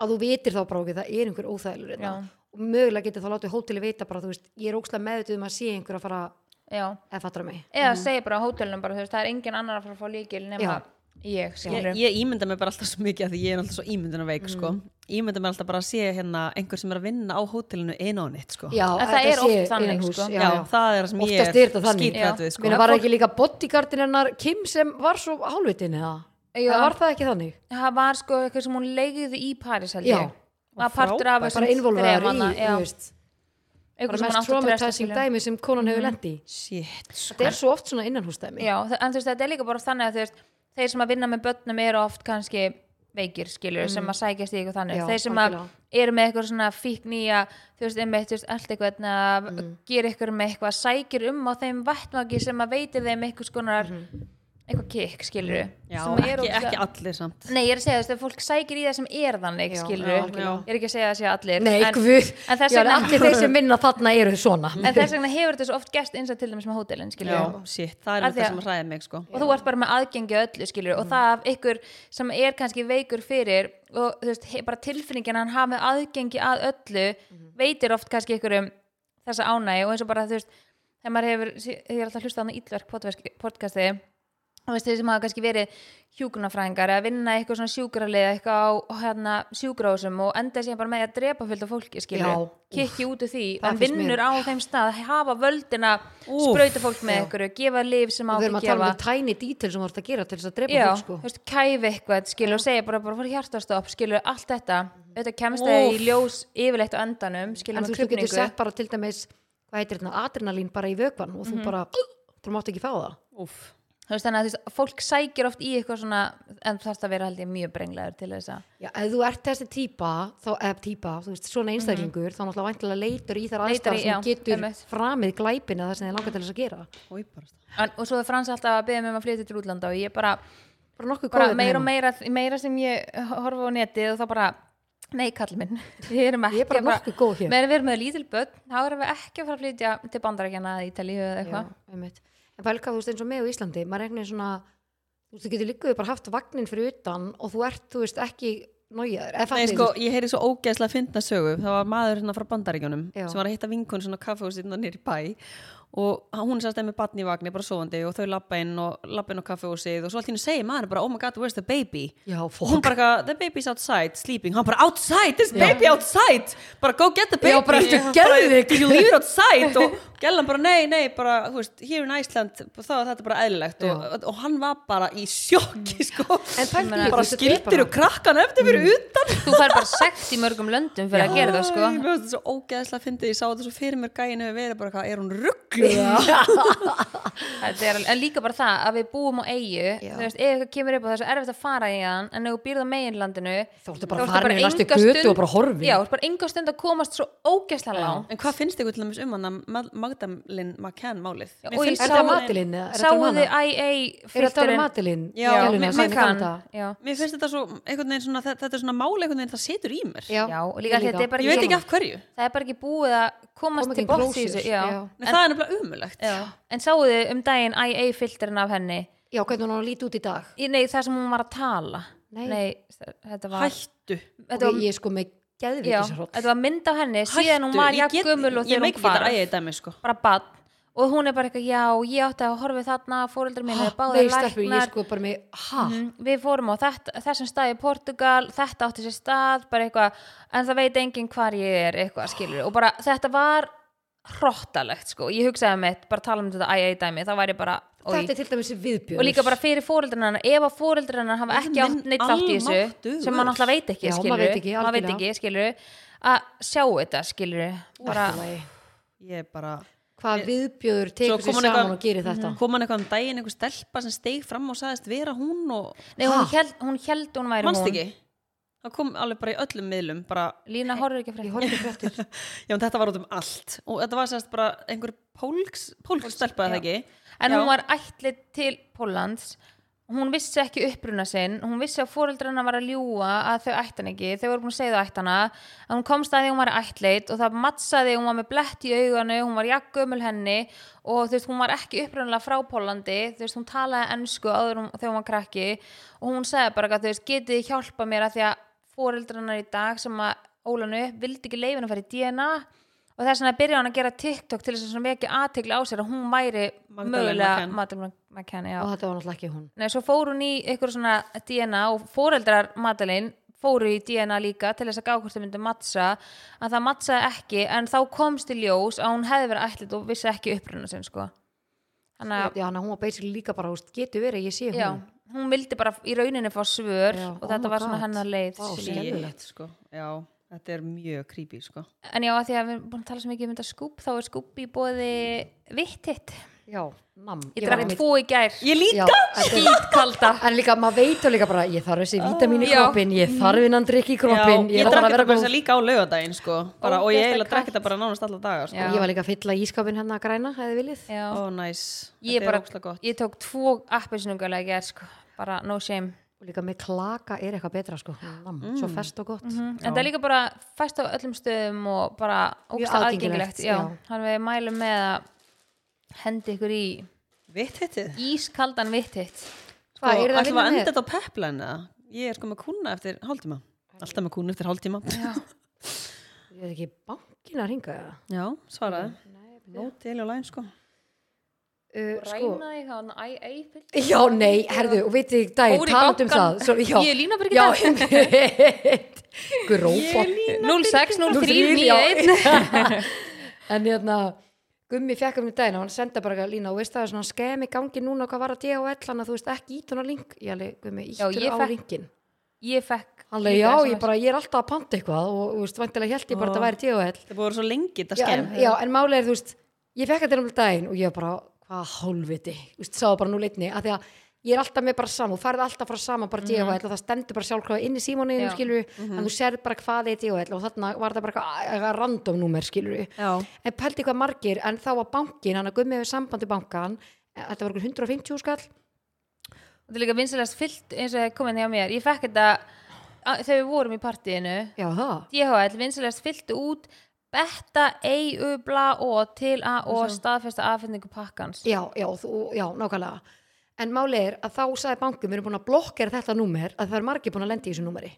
að þú vitir þá bara okkur það er einhver óþægilegur þarna
Já.
og mögulega getur þá látið hóteli vita bara þú veist ég er ókslega meðvitað um að sé einhver að fara
já.
eða fattur mig
eða segja bara á hótelnum bara, þú veist, það er engin annar að fara að fá líkil nema
Mhm. Já. Mhm.
ég skilur
Ég, ég ímynda mér bara alltaf svo mikið af því ég er alltaf svo ímyndunarveik sko. Ímynda mér alltaf bara að sé hérna einhver sem er að vinna á hótelinu inn á nýtt sko.
já,
En það
þetta
er oft
sé
þannig,
innanhús,
sko.
já,
Já,
já.
það er það sem ég
oftast er þetta þannig
skítrætt við sko.
Meina, var það ekki líka bodyguardin hennar Kim sem var svo hálfitin eða
Já.
Eða var það ekki þannig
það var sko eitthvað sem hún leiði í París held
Já.
ég var partur af
bara involvaðar í, þú veist
einhver
bara
sem hann átti
mest
að treysta
traumatizing
skilur.
dæmi sem konan hefur lendi
Shit, sko.
þetta er svo oft svona innanhúsdæmi
Mhm. já, þ- en þú veist þetta er líka bara þannig að þú veist þeir sem að vinna með börnum eru oft kannski veikir skilur sem að sækjast í eitthvað þannig
Mm. Já,
þeir sem að
algjörlega.
eru með eitthvað svona fíkn í að þú veist, einmitt, þú veist, allt eitthvað að
Mm.
gera ykkur með eitthvað, sækir um á þeim vatnmagi sem að veitir þeim eitthvað skonar
Mhm.
eitthvað kikk, skilur
Já, ekki, ekki allir samt
Nei, ég er að segja þú veist, að fólk sækir í það sem er þannig,
Já,
skilur
já,
algjörlega.
Ég er ekki að segja að segja allir
Nei,
en,
guð,
en þess
já,
vegna-
allir þeir
<laughs>
sem vinna þarna eru svona
en þess vegna hefur þetta svo oft gest eins og til dæmis með hótelin, skilur
Já, shit, það er
Af því
þetta
að-
sem hræði mig sko
og þú ert bara með aðgengi að öllu skilur og það af ykkur sem er kannski veikur fyrir og þú veist, he- bara tilfinningin að hann hafi aðgengi að öllu veitir oft kannski ykkur um þessa ánægi og eins og bara þú veist þegar maður hefur, ég er alltaf hlustað á íllverk podverk- podcasti þú veist þeir sem hafa kannski verið hjúgrunafræðingar eða vinna í eitthvað svona sjúkrarlega eitthvað á hérna, sjúgrásum og enda síðan bara með að drepa fyllt af fólki skilur,
Já,
kikki út úr því
það
en
finnst mér-
vinnur á þeim stað, hafa völdina
Úff,
sprauta fólk með ykkur, gefa líf sem á
og við erum
ekki
að tala
gefa
um tæni dítil sem þú ert að gera til þess að drepa
já, þú
fólk sko.
veist, kæfi eitthvað skilur, og segja bara, bara fór hjartastopp, skilur allt þetta, auðvitað kemst það í
Úff.
ljós yfirleitt á endanum, skilur
en
með
þú veist, þú getur
krupningu
sett bara til dæmis hvað heitir þetta, adrenalín bara í vökvan og þú
Mhm.
bara, þú mátt ekki fá það
Úff,
Þú veist, þannig að þú veist, fólk sækir oft í eitthvað svona en þú þarfst að vera held ég mjög brenglegur til þess að
Já, ef þú ert þessi típa, þá, eða típa, þú veist, svona einstaklingur, þá náttúrulega væntilega leitur í þar
Mhm. Leitar
aðstæða
í-
sem
já,
getur
einmitt.
framið glæpin eða það sem þið langar til þess að gera.
oi bara
en, og svo er Frans alltaf að beða mig um að flytja til útlanda og ég bara,
Bara nokkuð
bara
góður
meira og meira meira sem ég horfa á netið og þá bara nei kall minn, <laughs> við erum ekki
Ég er bara
að fara-
nokkuð góð hér.
meira við erum með lítil börn, þá erum við ekki að fara að flytja til bandarækjana eða Ítalíu eða
Já,
eitthvað
einmitt. En pælka, þú veist, eins og mig á Íslandi, maður regnir svona, þú veist, þú getur líka bara haft vagnin fyrir utan og þú ert, þú veist, ekki nójaður. Eða
Nei,
fattir,
sko, ég heyri svo ógeðslega að finna sögu það var maður hérna frá bandaríkjónum
Já.
sem var að hitta vinkun svona kaffehús hérna nýri bæ og hún sérst þeim með batni í vagni bara sofandi og þau labba inn og labba inn á kaffehúsið og svo allt hérna segir maður bara oh my god, where's the baby?
Já,
og hún
fólk.
bara eitthvað, the baby's outside, sleeping hann bara outside, there's baby outside bara go get the baby
Já, bara ertu geðveik?
you leave it outside og gellan bara nei, nei, bara, þú veist, here in Iceland þá er þetta bara eðlilegt og, og hann var bara í sjokki sko
En Mm. pælka, ég,
bara skildir og krakkan eftir fyrir utan
þú fær bara sekt í mörgum löndum fyrir að gera það sko
Æ, mér fannst þetta svo ógeðslega fyndið, ég sá þetta svo fyrir mér gæin hefur verið bara hvað, er hún ruggluð
Þetta er, alveg- en líka bara það að við búum á eigu
Já.
þú veist, ef eitthvað kemur upp á þessu erfitt að fara í hann en ef þú býrð á meginlandinu
Þá ertu
þá
bara
ertu
farin í næstu
enga
götu
stund-
og bara horfin.
já, þú ert bara enga stund að komast svo ógeðslega lág
en hvað finnst ykkur til dæmis um hann að Magdalin McCann málið? Mér
og ég sá-
finnst
Er það matilinn? Er það
sáu
um hana?
þið IA
Er það um
fréttirinn-
matilinn?
Já,
mér-
gæluna,
mér
sem
kann,
ég kallar um þetta?
já.
Mér finnst þetta svo, einhvern veginn svona, þe- þetta er svona mál einhvern veginn, það situr í mér.
Já,
já, og
ég
líka þetta er bara
Ég veit ekki af hverju,
það er bara ekki búið að komast
Koma
til
ekki
bótt í
closure,
þessu já.
já.
en, það er nefnilega umulagt.
Já. en sáuðu þið um daginn IA filterin af henni
Já, hvernig hún á að líti út í dag?
Í- nei, það sem hún var að tala
Nei.
þetta var,
Hættu.
þetta var
Og ég er sko með
Já,
geðvíkisarhótt.
þetta var mynd af henni síðan hún
Hættu.
var
Ég get-
jafn gömul og
Ég
þegar
meik
hún
ekki þetta
hvarf
ægið dæmi, sko.
bara bann og hún er bara eitthvað, já, ég átti að horfa þarna fóreldur mínu, báðið
Nei, stelpur, ég
læknar
er sko bara með, ha?
Mhm, við fórum á þetta, þessum stað í Portugal þetta átti sér stað, bara eitthvað en það veit enginn hvar ég er, eitthvað skilur og bara þetta var hrottalegt sko, ég hugsaði mitt, bara tala um þetta æ, æ, dæmi, þá væri bara oj.
Þetta er til dæmis viðbjörn.
og líka bara fyrir fóreldrarna ef að fóreldrarna hafa
Þetta
ekki
er
átt
minn
neitt þátt í þessu
almáttugur.
sem maður náttúrulega veit ekki,
Já, maður
skilur
veit ekki,
maður veit
algjörlega.
ekki, skilur að sjá þetta, skilur bara,
Ég er bara...
Hvað viðbjörn tekur
kom
sér
hann
saman
eitthvað-
og gerir þetta?
Mhm.
Kom hann eitthvað um daginn, einhver stelpa sem steig fram og sagðist vera hún og...
nei, hún held, hún held hún væri
Manst
hún
ekki? Það kom alveg bara í öllum miðlum, bara...
Lína horfir ekki
Ég
frétt
horfði fréttir.
Já, en þetta var út um allt. Og þetta var sérst bara einhver pólks, pólks stelpa, eða ekki?
en
Já.
hún var ætlið til Póllands hún vissi ekki uppruna sinn hún vissi að fóreldrarna var að ljúga að þau ættan ekki, þau voru búin að segja þau ættana að hún komst að því að hún var ættleit og það mattsaði, hún var með blett í auganu hún var jaggumul henni og þú veist, hún var ekki upprunalega frá Pólandi þú veist, hún talaði ennsku áður hún, þegar hún var krakki og hún sagði bara að þú veist, getið þið hjálpa mér að því að fóreldrarna í dag sem að Ólanu vildi ekki leifin að fara í DNA og þess vegna byrja hann að gera TikTok til þess að vekja aðtegli á sér að hún væri
Magdalena
mögulega
McCann.
Magdalena McCann já.
Og þetta var náttúrulega ekki hún.
Nei, svo fór hún í eitthvað svona DNA og fóreldrar Madeleine fóru í DNA líka til þess að gá hvort þau myndi mattsa en það mattsaði ekki en þá komst í ljós að hún hefði verið ætlit og vissi ekki uppruna sinn sko. Þannig að
Já, hann, hún var basically líka bara, húst, getur verið, ég sé hún.
já, hún vildi bara í rauninni fá svör
Já,
og
oh my
þetta var svona
God.
hennar leið
Vá,
skilurðu.
Skelfilegt,
skelfilegt.
sko. Já, þetta er mjög creepy, sko.
En já, að því að við erum búin að tala svo mikið um þetta skúp þá er skúp í bóði vittitt
já, nam
Ég drakk
var
tvo í gær
Ég líka
Skýt kalda
En líka, maður veit og líka bara, ég þarf þessi vítamín
Ah,
í
Já. Mhm.
kroppin, ég þarf innan drikk í kroppin,
Já, ég drakk þetta bara
góð.
þess að líka á laugardaginn sko. bara, og ég
Ógeðslega
eiginlega drakk
kalt.
þetta bara nánast alla daga sko.
Já.
Ég var líka að fylla ískapin hérna að græna, hefði viljið.
Já.
ó næs,
Ég,
þetta er
bara,
ógslag gott
ég tók tvo appisnungulega í gær sko. bara no shame
Og líka með klaka er eitthvað betra, sko. Nam, Svo fest og gott.
Mm, en það er líka bara fæst á öllum stöðum og bara ógsta aðgengilegt
aðgengilegt,
já. þannig að við mælum með að hendi ykkur í
Vitt hittið
ískaldan vittitt
Hvað,
Sko,
eruð þið að
ætlum við
vinna
að
með?
enda þetta á peplæn eða? Ég er sko með kúna eftir hálftíma Alltaf með kúna eftir hálftíma Já, <laughs>
Ég veit ekki, bankin að ringa það.
svaraði Nó til og læn sko
Uh, sko,
ræna þig á hann æ-æ-pill
Já, nei, herðu, og veit þið, dag,
Fór í
taland um
bankann.
það svo, já,
Ég er Lína Birgitta. <laughs>
Já, einmitt. Grófa
060391
En hérna, Gummi fekk um í daginn og hann senda bara eitthvað, Lína og veist það er svona skemi gangi núna hvað var að DHL hann að þú veist ekki ít hann á link Ég alveg, Gummi,
Já,
íttur
ég
á
fekk-
linkin
ég fekk Ah.
Hann alveg,
líka
já,
SMS.
ég bara, ég er alltaf að panta eitthvað og, þú veist, vantilega held ég bara að þetta væri DHL
Það búið að vera svo lengi þetta
já, en,
skemm
já, en máli er, þú veist, ég fekk þetta um daginn og ég var bara, hvað hálfviti þú veist, sá það bara nú leitni, af því að ég er alltaf með bara saman, þú færð alltaf frá saman bara DHL og það stendur bara sjálfkrafa inn í símóninu
Já.
skilur, en þú serð bara hvað er DHL og þarna var það bara eitthvað- eitthvað random númer skilur,
Já.
en pældi hvað margir en þá var bankin, hann að gummi við sambandi bankan, þetta var einhver 150 skall
þetta er líka vinsilegast fyllt eins og það er komið hjá mér ég fekk þetta á- þegar við vorum í partíinu
já það,
DHL vinsilegast fyllt út betta, EU, bla og til a og staðfesta aðfinningu pakkans
já, já, þú, já, nákvæmlega en máli er að þá sagði bankum, við erum búin að blokkera þetta númer að það er margir búin að lenda í þessu númeri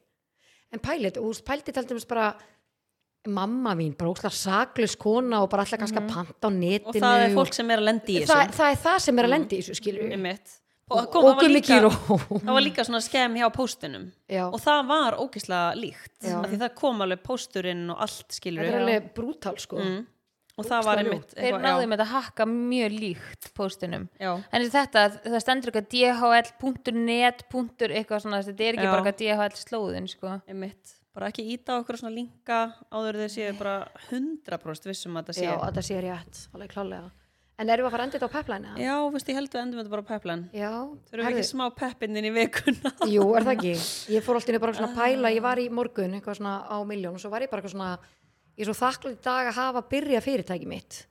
en pælið, og þú veist, pældi til dæmis bara mamma mín, bara óslar saklaus kona og bara alltaf kannski að panta á netinu
Mhm. Og það er fólk sem er að lendi í
og, það,
þessu Mhm.
það er það sem er að lenda í þessu skilju
Einmitt.
og,
kom- það
og
var
gummi
líka-
kýró
Það var líka svona skemm hjá póstinum
Já.
Og það var ógislega líkt
Já.
af Því það kom alveg pósturinn og allt
þetta er
skilur
alveg brútal sko
Mhm, Og það var
ógeðslega
einmitt
þeir
eitthvað-
náðum þetta að hakka mjög líkt póstunum
Já.
en eins og þetta, það stendur eitthvað dhl.net. eitthvað svona, þetta er ekki
Já.
bara eitthvað dhl slóðin sko.
einmitt, bara ekki íta okkur svona linka áður þeir séu bara 100% vissum að það sé
já, að það sé rétt, alveg klálega en erum við að fara endið á peplæni?
já, veist, ég held við endum þetta bara á peplan
já,
þurfum við
herðu.
ekki smá peppinnin í vikuna
Jú, er það ekki? Ég fór alltaf bara svona að pæla, ég var í morgun eitthvað svona á miljón og svo var ég bara eitthvað svona ég er svo þakklæð í dag að hafa byrja fyrirtæki mitt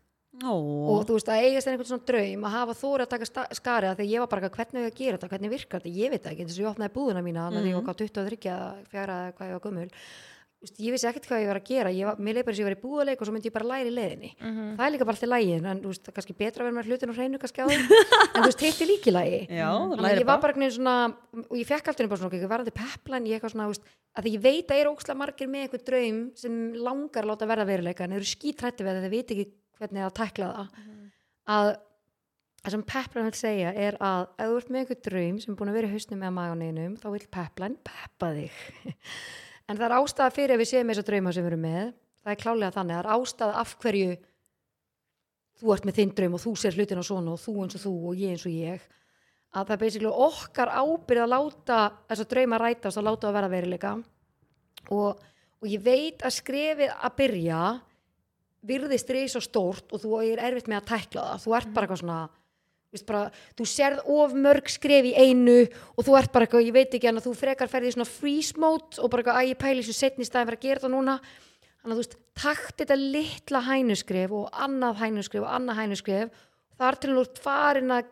Ó,
og þú veist að eigast er einhvern svona draum að hafa þóri að taka sta- skarið af því að ég var bara eitthvað hvernig á ég að gera þetta, hvernig virkar þetta, ég veit það ekki eins og ég opnaði búðuna mína, þannig að ég var hvað 23 eða 4 eða hvað ég var gömul Þú veist, ég vissi ekkert hvað ég var að gera, ég var, mér leið bara eins og ég var í búðuleik og svo myndi ég bara læra í leiðinni það er líka bara alltaf lægin, en þú veist, það er kannski betra að vera með hlutin og hreinu kannski á þeim, en þú veist, hitt er líki lægi
Já,
Mm. Þannig að
læri
ég var bara einhvern veginn svona og ég fekk alltaf bara svona, ég var alltaf peplan ég eitthvað svona, þú veist, að því ég veit að ég er ókslega margir með einhver draum sem langar að láta verða veruleika en þeir eru skítrætti við það, þeir veit ekki hvernig að tækla það að það sem peplan vil segja er að ef þú ert með einhver draum sem er búin að vera í hausnum með maganeinum, þá vil peplan peppa þig <laughs> en það er ástæða fyrir að við séum þessa drauma sem við erum með það er klálega þannig, það er ástæða af hverju þú ert með þinn draum og þú sér hlutina svona og þú eins og þú og ég eins og ég að það er basically okkar ábyrð að láta þess að drauma rætast að láta að vera veruleika og, og ég veit að skrefið að byrja virðist reis og stórt og þú er erfitt með að tækla það þú ert bara eitthvað svona þú veist bara, þú serð of mörg skref í einu og þú ert bara eitthvað, ég veit ekki en að þú frekar ferði í svona freeze mode og bara eitthvað að ég pæli þessu setni staðin fyrir að gera það núna þannig að þú veist, takt þetta litla hænuskref og annað hænuskref og annað hænuskref þar til þú ert farin að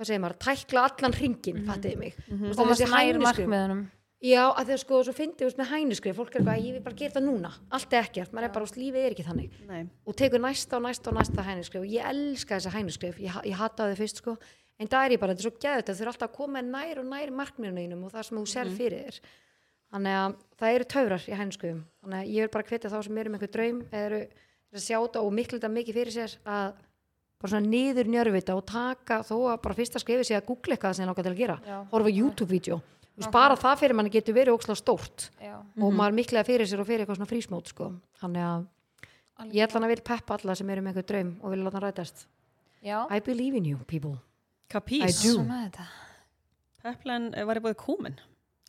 hvað segir maður, tækla allan ringin mm -hmm. fattiði mig mm -hmm.
Mhm. og maður snæri markmiðunum
Já, að því að sko, svo fyndi þú veist, með hænuskrif, fólk er eitthvað, ég vil bara gera það núna, allt er ekkert, maður er bara, úst, lífið er ekki þannig
Nei.
og tekur næsta og næsta og næsta hænuskrif og ég elska þessa hænuskrif, ég, ha- ég hataði þau fyrst sko, en það er ég bara, þetta er svo gæðut þau eru alltaf að koma nær og nær markmiðunum og það sem þú sér fyrir þér þannig að það eru töfrar í hænuskrifum þannig að ég vil bara hvetja þá sem eru með einhver draum eða eru eru að sjá þetta og miklu þetta mikið fyrir sér að bara svona niður njörvita og taka þó að bara fyrsta skrifi sé að googla eitthvað sem ég langar til að gera
Já.
horfa á YouTube-vídeó Þú veist, bara það fyrir manni getur verið ókslega stórt
já.
og maður miklega fyrir sér og fyrir eitthvað svona frísmót sko. þannig að ég ætla hann að vil peppa alla sem eru með einhver draum og vilja láta hann rætast
já,
I believe in you people
Kapís
I do.
Svo með þetta
Peplan eh, var ég búið kúmen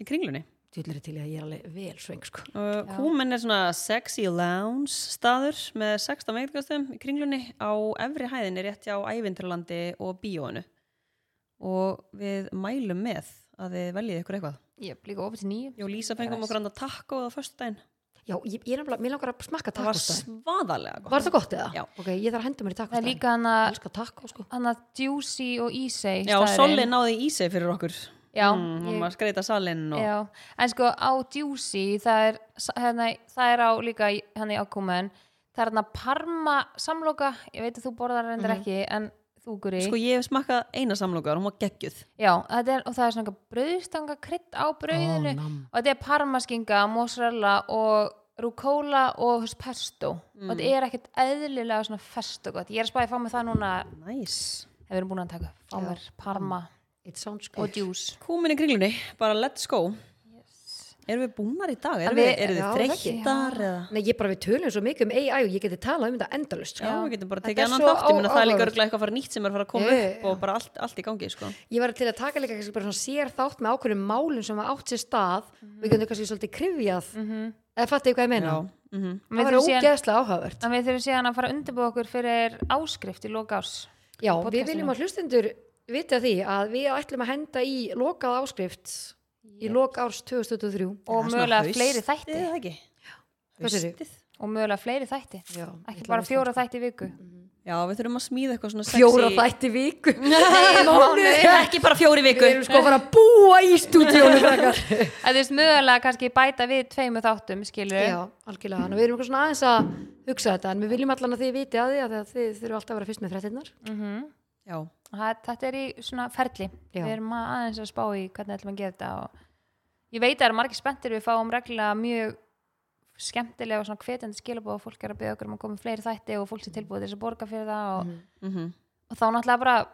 í kringlunni
Tjúlur er til í að ég er alveg vel sveng sko.
Uh, Kúmen er svona sexy lounge staður með 16 veitingastöðum í kringlunni á efri hæðinni rétt hjá ævindralandi og bíóinu og við mælum með að þið veljið ykkur eitthvað
Ég er líka opið til nýju
Jó, Lísa fengum okkur andan taco á fyrstu daginn
Já, ég, ég er nefnilega, mér langar að smakka
Það var
takkostæð.
svaðalega gott
Var það gott eða?
Já.
Ok, ég þarf að henda mér í
Það er
takkostæð.
líka hann að
Elskar takkó sko.
hann að Juicy og Easy
Já, Solli náði í sig fyrir okkur
Já,
mm, Hún
ég-
var að skreita salinn og
Já, en sko á Juicy það er, hérna, það er á líka í- hann í ákomin það er hann að parma samloka ég veit að þú borðar hann reyndar ekki en þú guri
Mhm. Sko, ég hef smakkað eina samlokur, hún var geggjuð
Já, þetta er, og það er svona brauðstanga krydd á brauðinu
nam.
og þetta er parmaskinga, mozzarella og rucola og þú veist, pesto og þetta
Mhm.
er ekkert eðlilega svona fest og gott, ég er að spáði að fá mig það núna
Næs nice.
ef við erum búin að taka, upp. fá mér parma
It sounds
og
good.
juice
Kúmin í kringlunni, bara let's go Erum við búnar í dag? Erum
við-
við, erum við
já, það ekki.
þreyttar eða?
Nei, ég bara við tölum svo mikið um AI og ég geti talað um þetta endalust sko.
Já, við getum bara
Þetta
tekið
er
annan
svo
þátt, ég meina það er líka
áhugavert.
örglega eitthvað að fara nýtt sem er að fara að koma
Já, já,
upp og bara allt, allt í gangi, sko.
Ég var til að taka líka kannski bara svona sér þátt með ákveðnum málum sem var átt sér stað við getum kannski svolítið krifjað eða fattu ég hvað ég meina?
Já, mm
Það var
þurfum síðan-
ógeðslega áhugavert
En við þurfum síðan að fara að undirbúa okkur fyrir áskrift í loka ás.
Já, við
podcastinu.
viljum að hlustendur vita því að við ætlum að henda í lokað áskrift í lok árs 2023
Og mögulega fleiri þætti.
Það er ekki.
Hvað segirðu?
Haustið.
Og mögulega fleiri þætti.
Já,
Ekki
ég
bara
ætla að sko. Mm.
fjóra þætti í viku.
Já, við þurfum að smíða eitthvað svona sexy.
Fjóra þætti í
<laughs>
viku Nei,
Nei,
<laughs>
ekki bara fjóri
Við
viku.
erum sko að fara að búa í
<laughs>
stúdíónu krakkar.
En þú veist, mögulega kannski bæta við tveimu þáttum, skilur.
Já, algjörlega Nú, Við erum eitthvað svona aðeins að hugsa þetta en við viljum allan að þið viti að því að þið- þið þurfum alltaf að vera fyrst með fréttinnar
Já,
Mhm. Þetta er í svona ferli.
Já.
Við erum að- aðeins að spá í hvernig ætlum að gera þetta. Og ég veit að það eru margir spenntir. Við fáum reglulega mjög skemmtilega og svona hvetjandi skilabóð og fólk er að byggja okkur um að koma með fleiri þætti og
Mm.
fólk sem tilbúið til þess að borga fyrir það og,
Mhm.
mm
og þá náttúrulega bara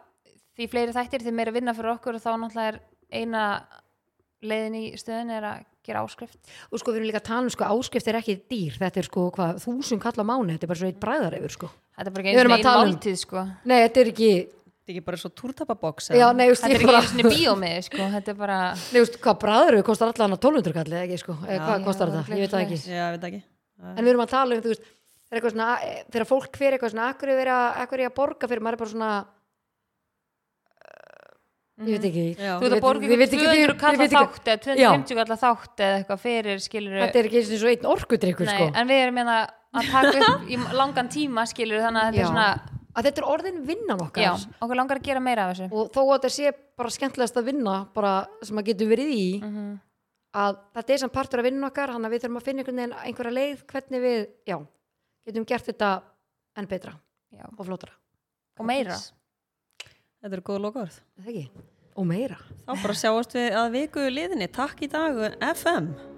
því fleiri þættir því meira vinna fyrir okkur og þá náttúrulega er eina leiðin í stöðun er að gera áskrift
og sko við erum líka að tala um sko áskrift er ekki dýr þetta er sko hvað þúsund kall á mánu þetta er bara svo eitt bræðar yfir sko
Þetta er bara
Við
ekki
erum
einu
að
einu
tala um-
máltíð sko.
Nei, þetta er ekki
þetta er ekki bara svo túrtapaboks.
Já, nei, just,
Þetta er
ég
ekki
bara
einu sinni bíómið sko. Þetta er bara
Nei, just, hvað bræður kostar allan að 1200 kall eða ekki sko eða
Já,
hvað kostar
það er
þetta, ég veit það ekki
fleiri.
Já, við það ekki.
en við erum að tala um, þú veist það er eitthvað svona, eh, þegar fólk fyrir eitthvað svona akkur er, vera, akkur er að borga fyrir, maður er bara svona eh, ég veit ekki
Já.
Þú veit
Ég
að borga
ég
ykkur
veit ekki- ég-
200
ég
kalla
veit ekki-
þátt eða
Já.
250 kalla þátt eða eitthvað fyrir skilur
þetta er ekki eins og einn orkudrykkur sko
En við erum hérna að taka upp
<laughs>
í langan tíma skilur þannig að þetta
Já.
er svona
að þetta er orðin vinnan okkar
Já, okkur langar að gera meira af þessu
og þó að þetta sé bara skemmtilegast að vinna bara sem maður getur verið í
Mhm.
að þetta er samt partur að vinna okkar þannig að við þurfum að finna einhvern veginn einhverja leið hvernig við, já, getum gert þetta enn betra
Já.
og flótara
og meira
Þetta er góð lokaverð.
Er það ekki? og meira
Þá bara sjáast við að viku liðinni. Takk í dag, FM.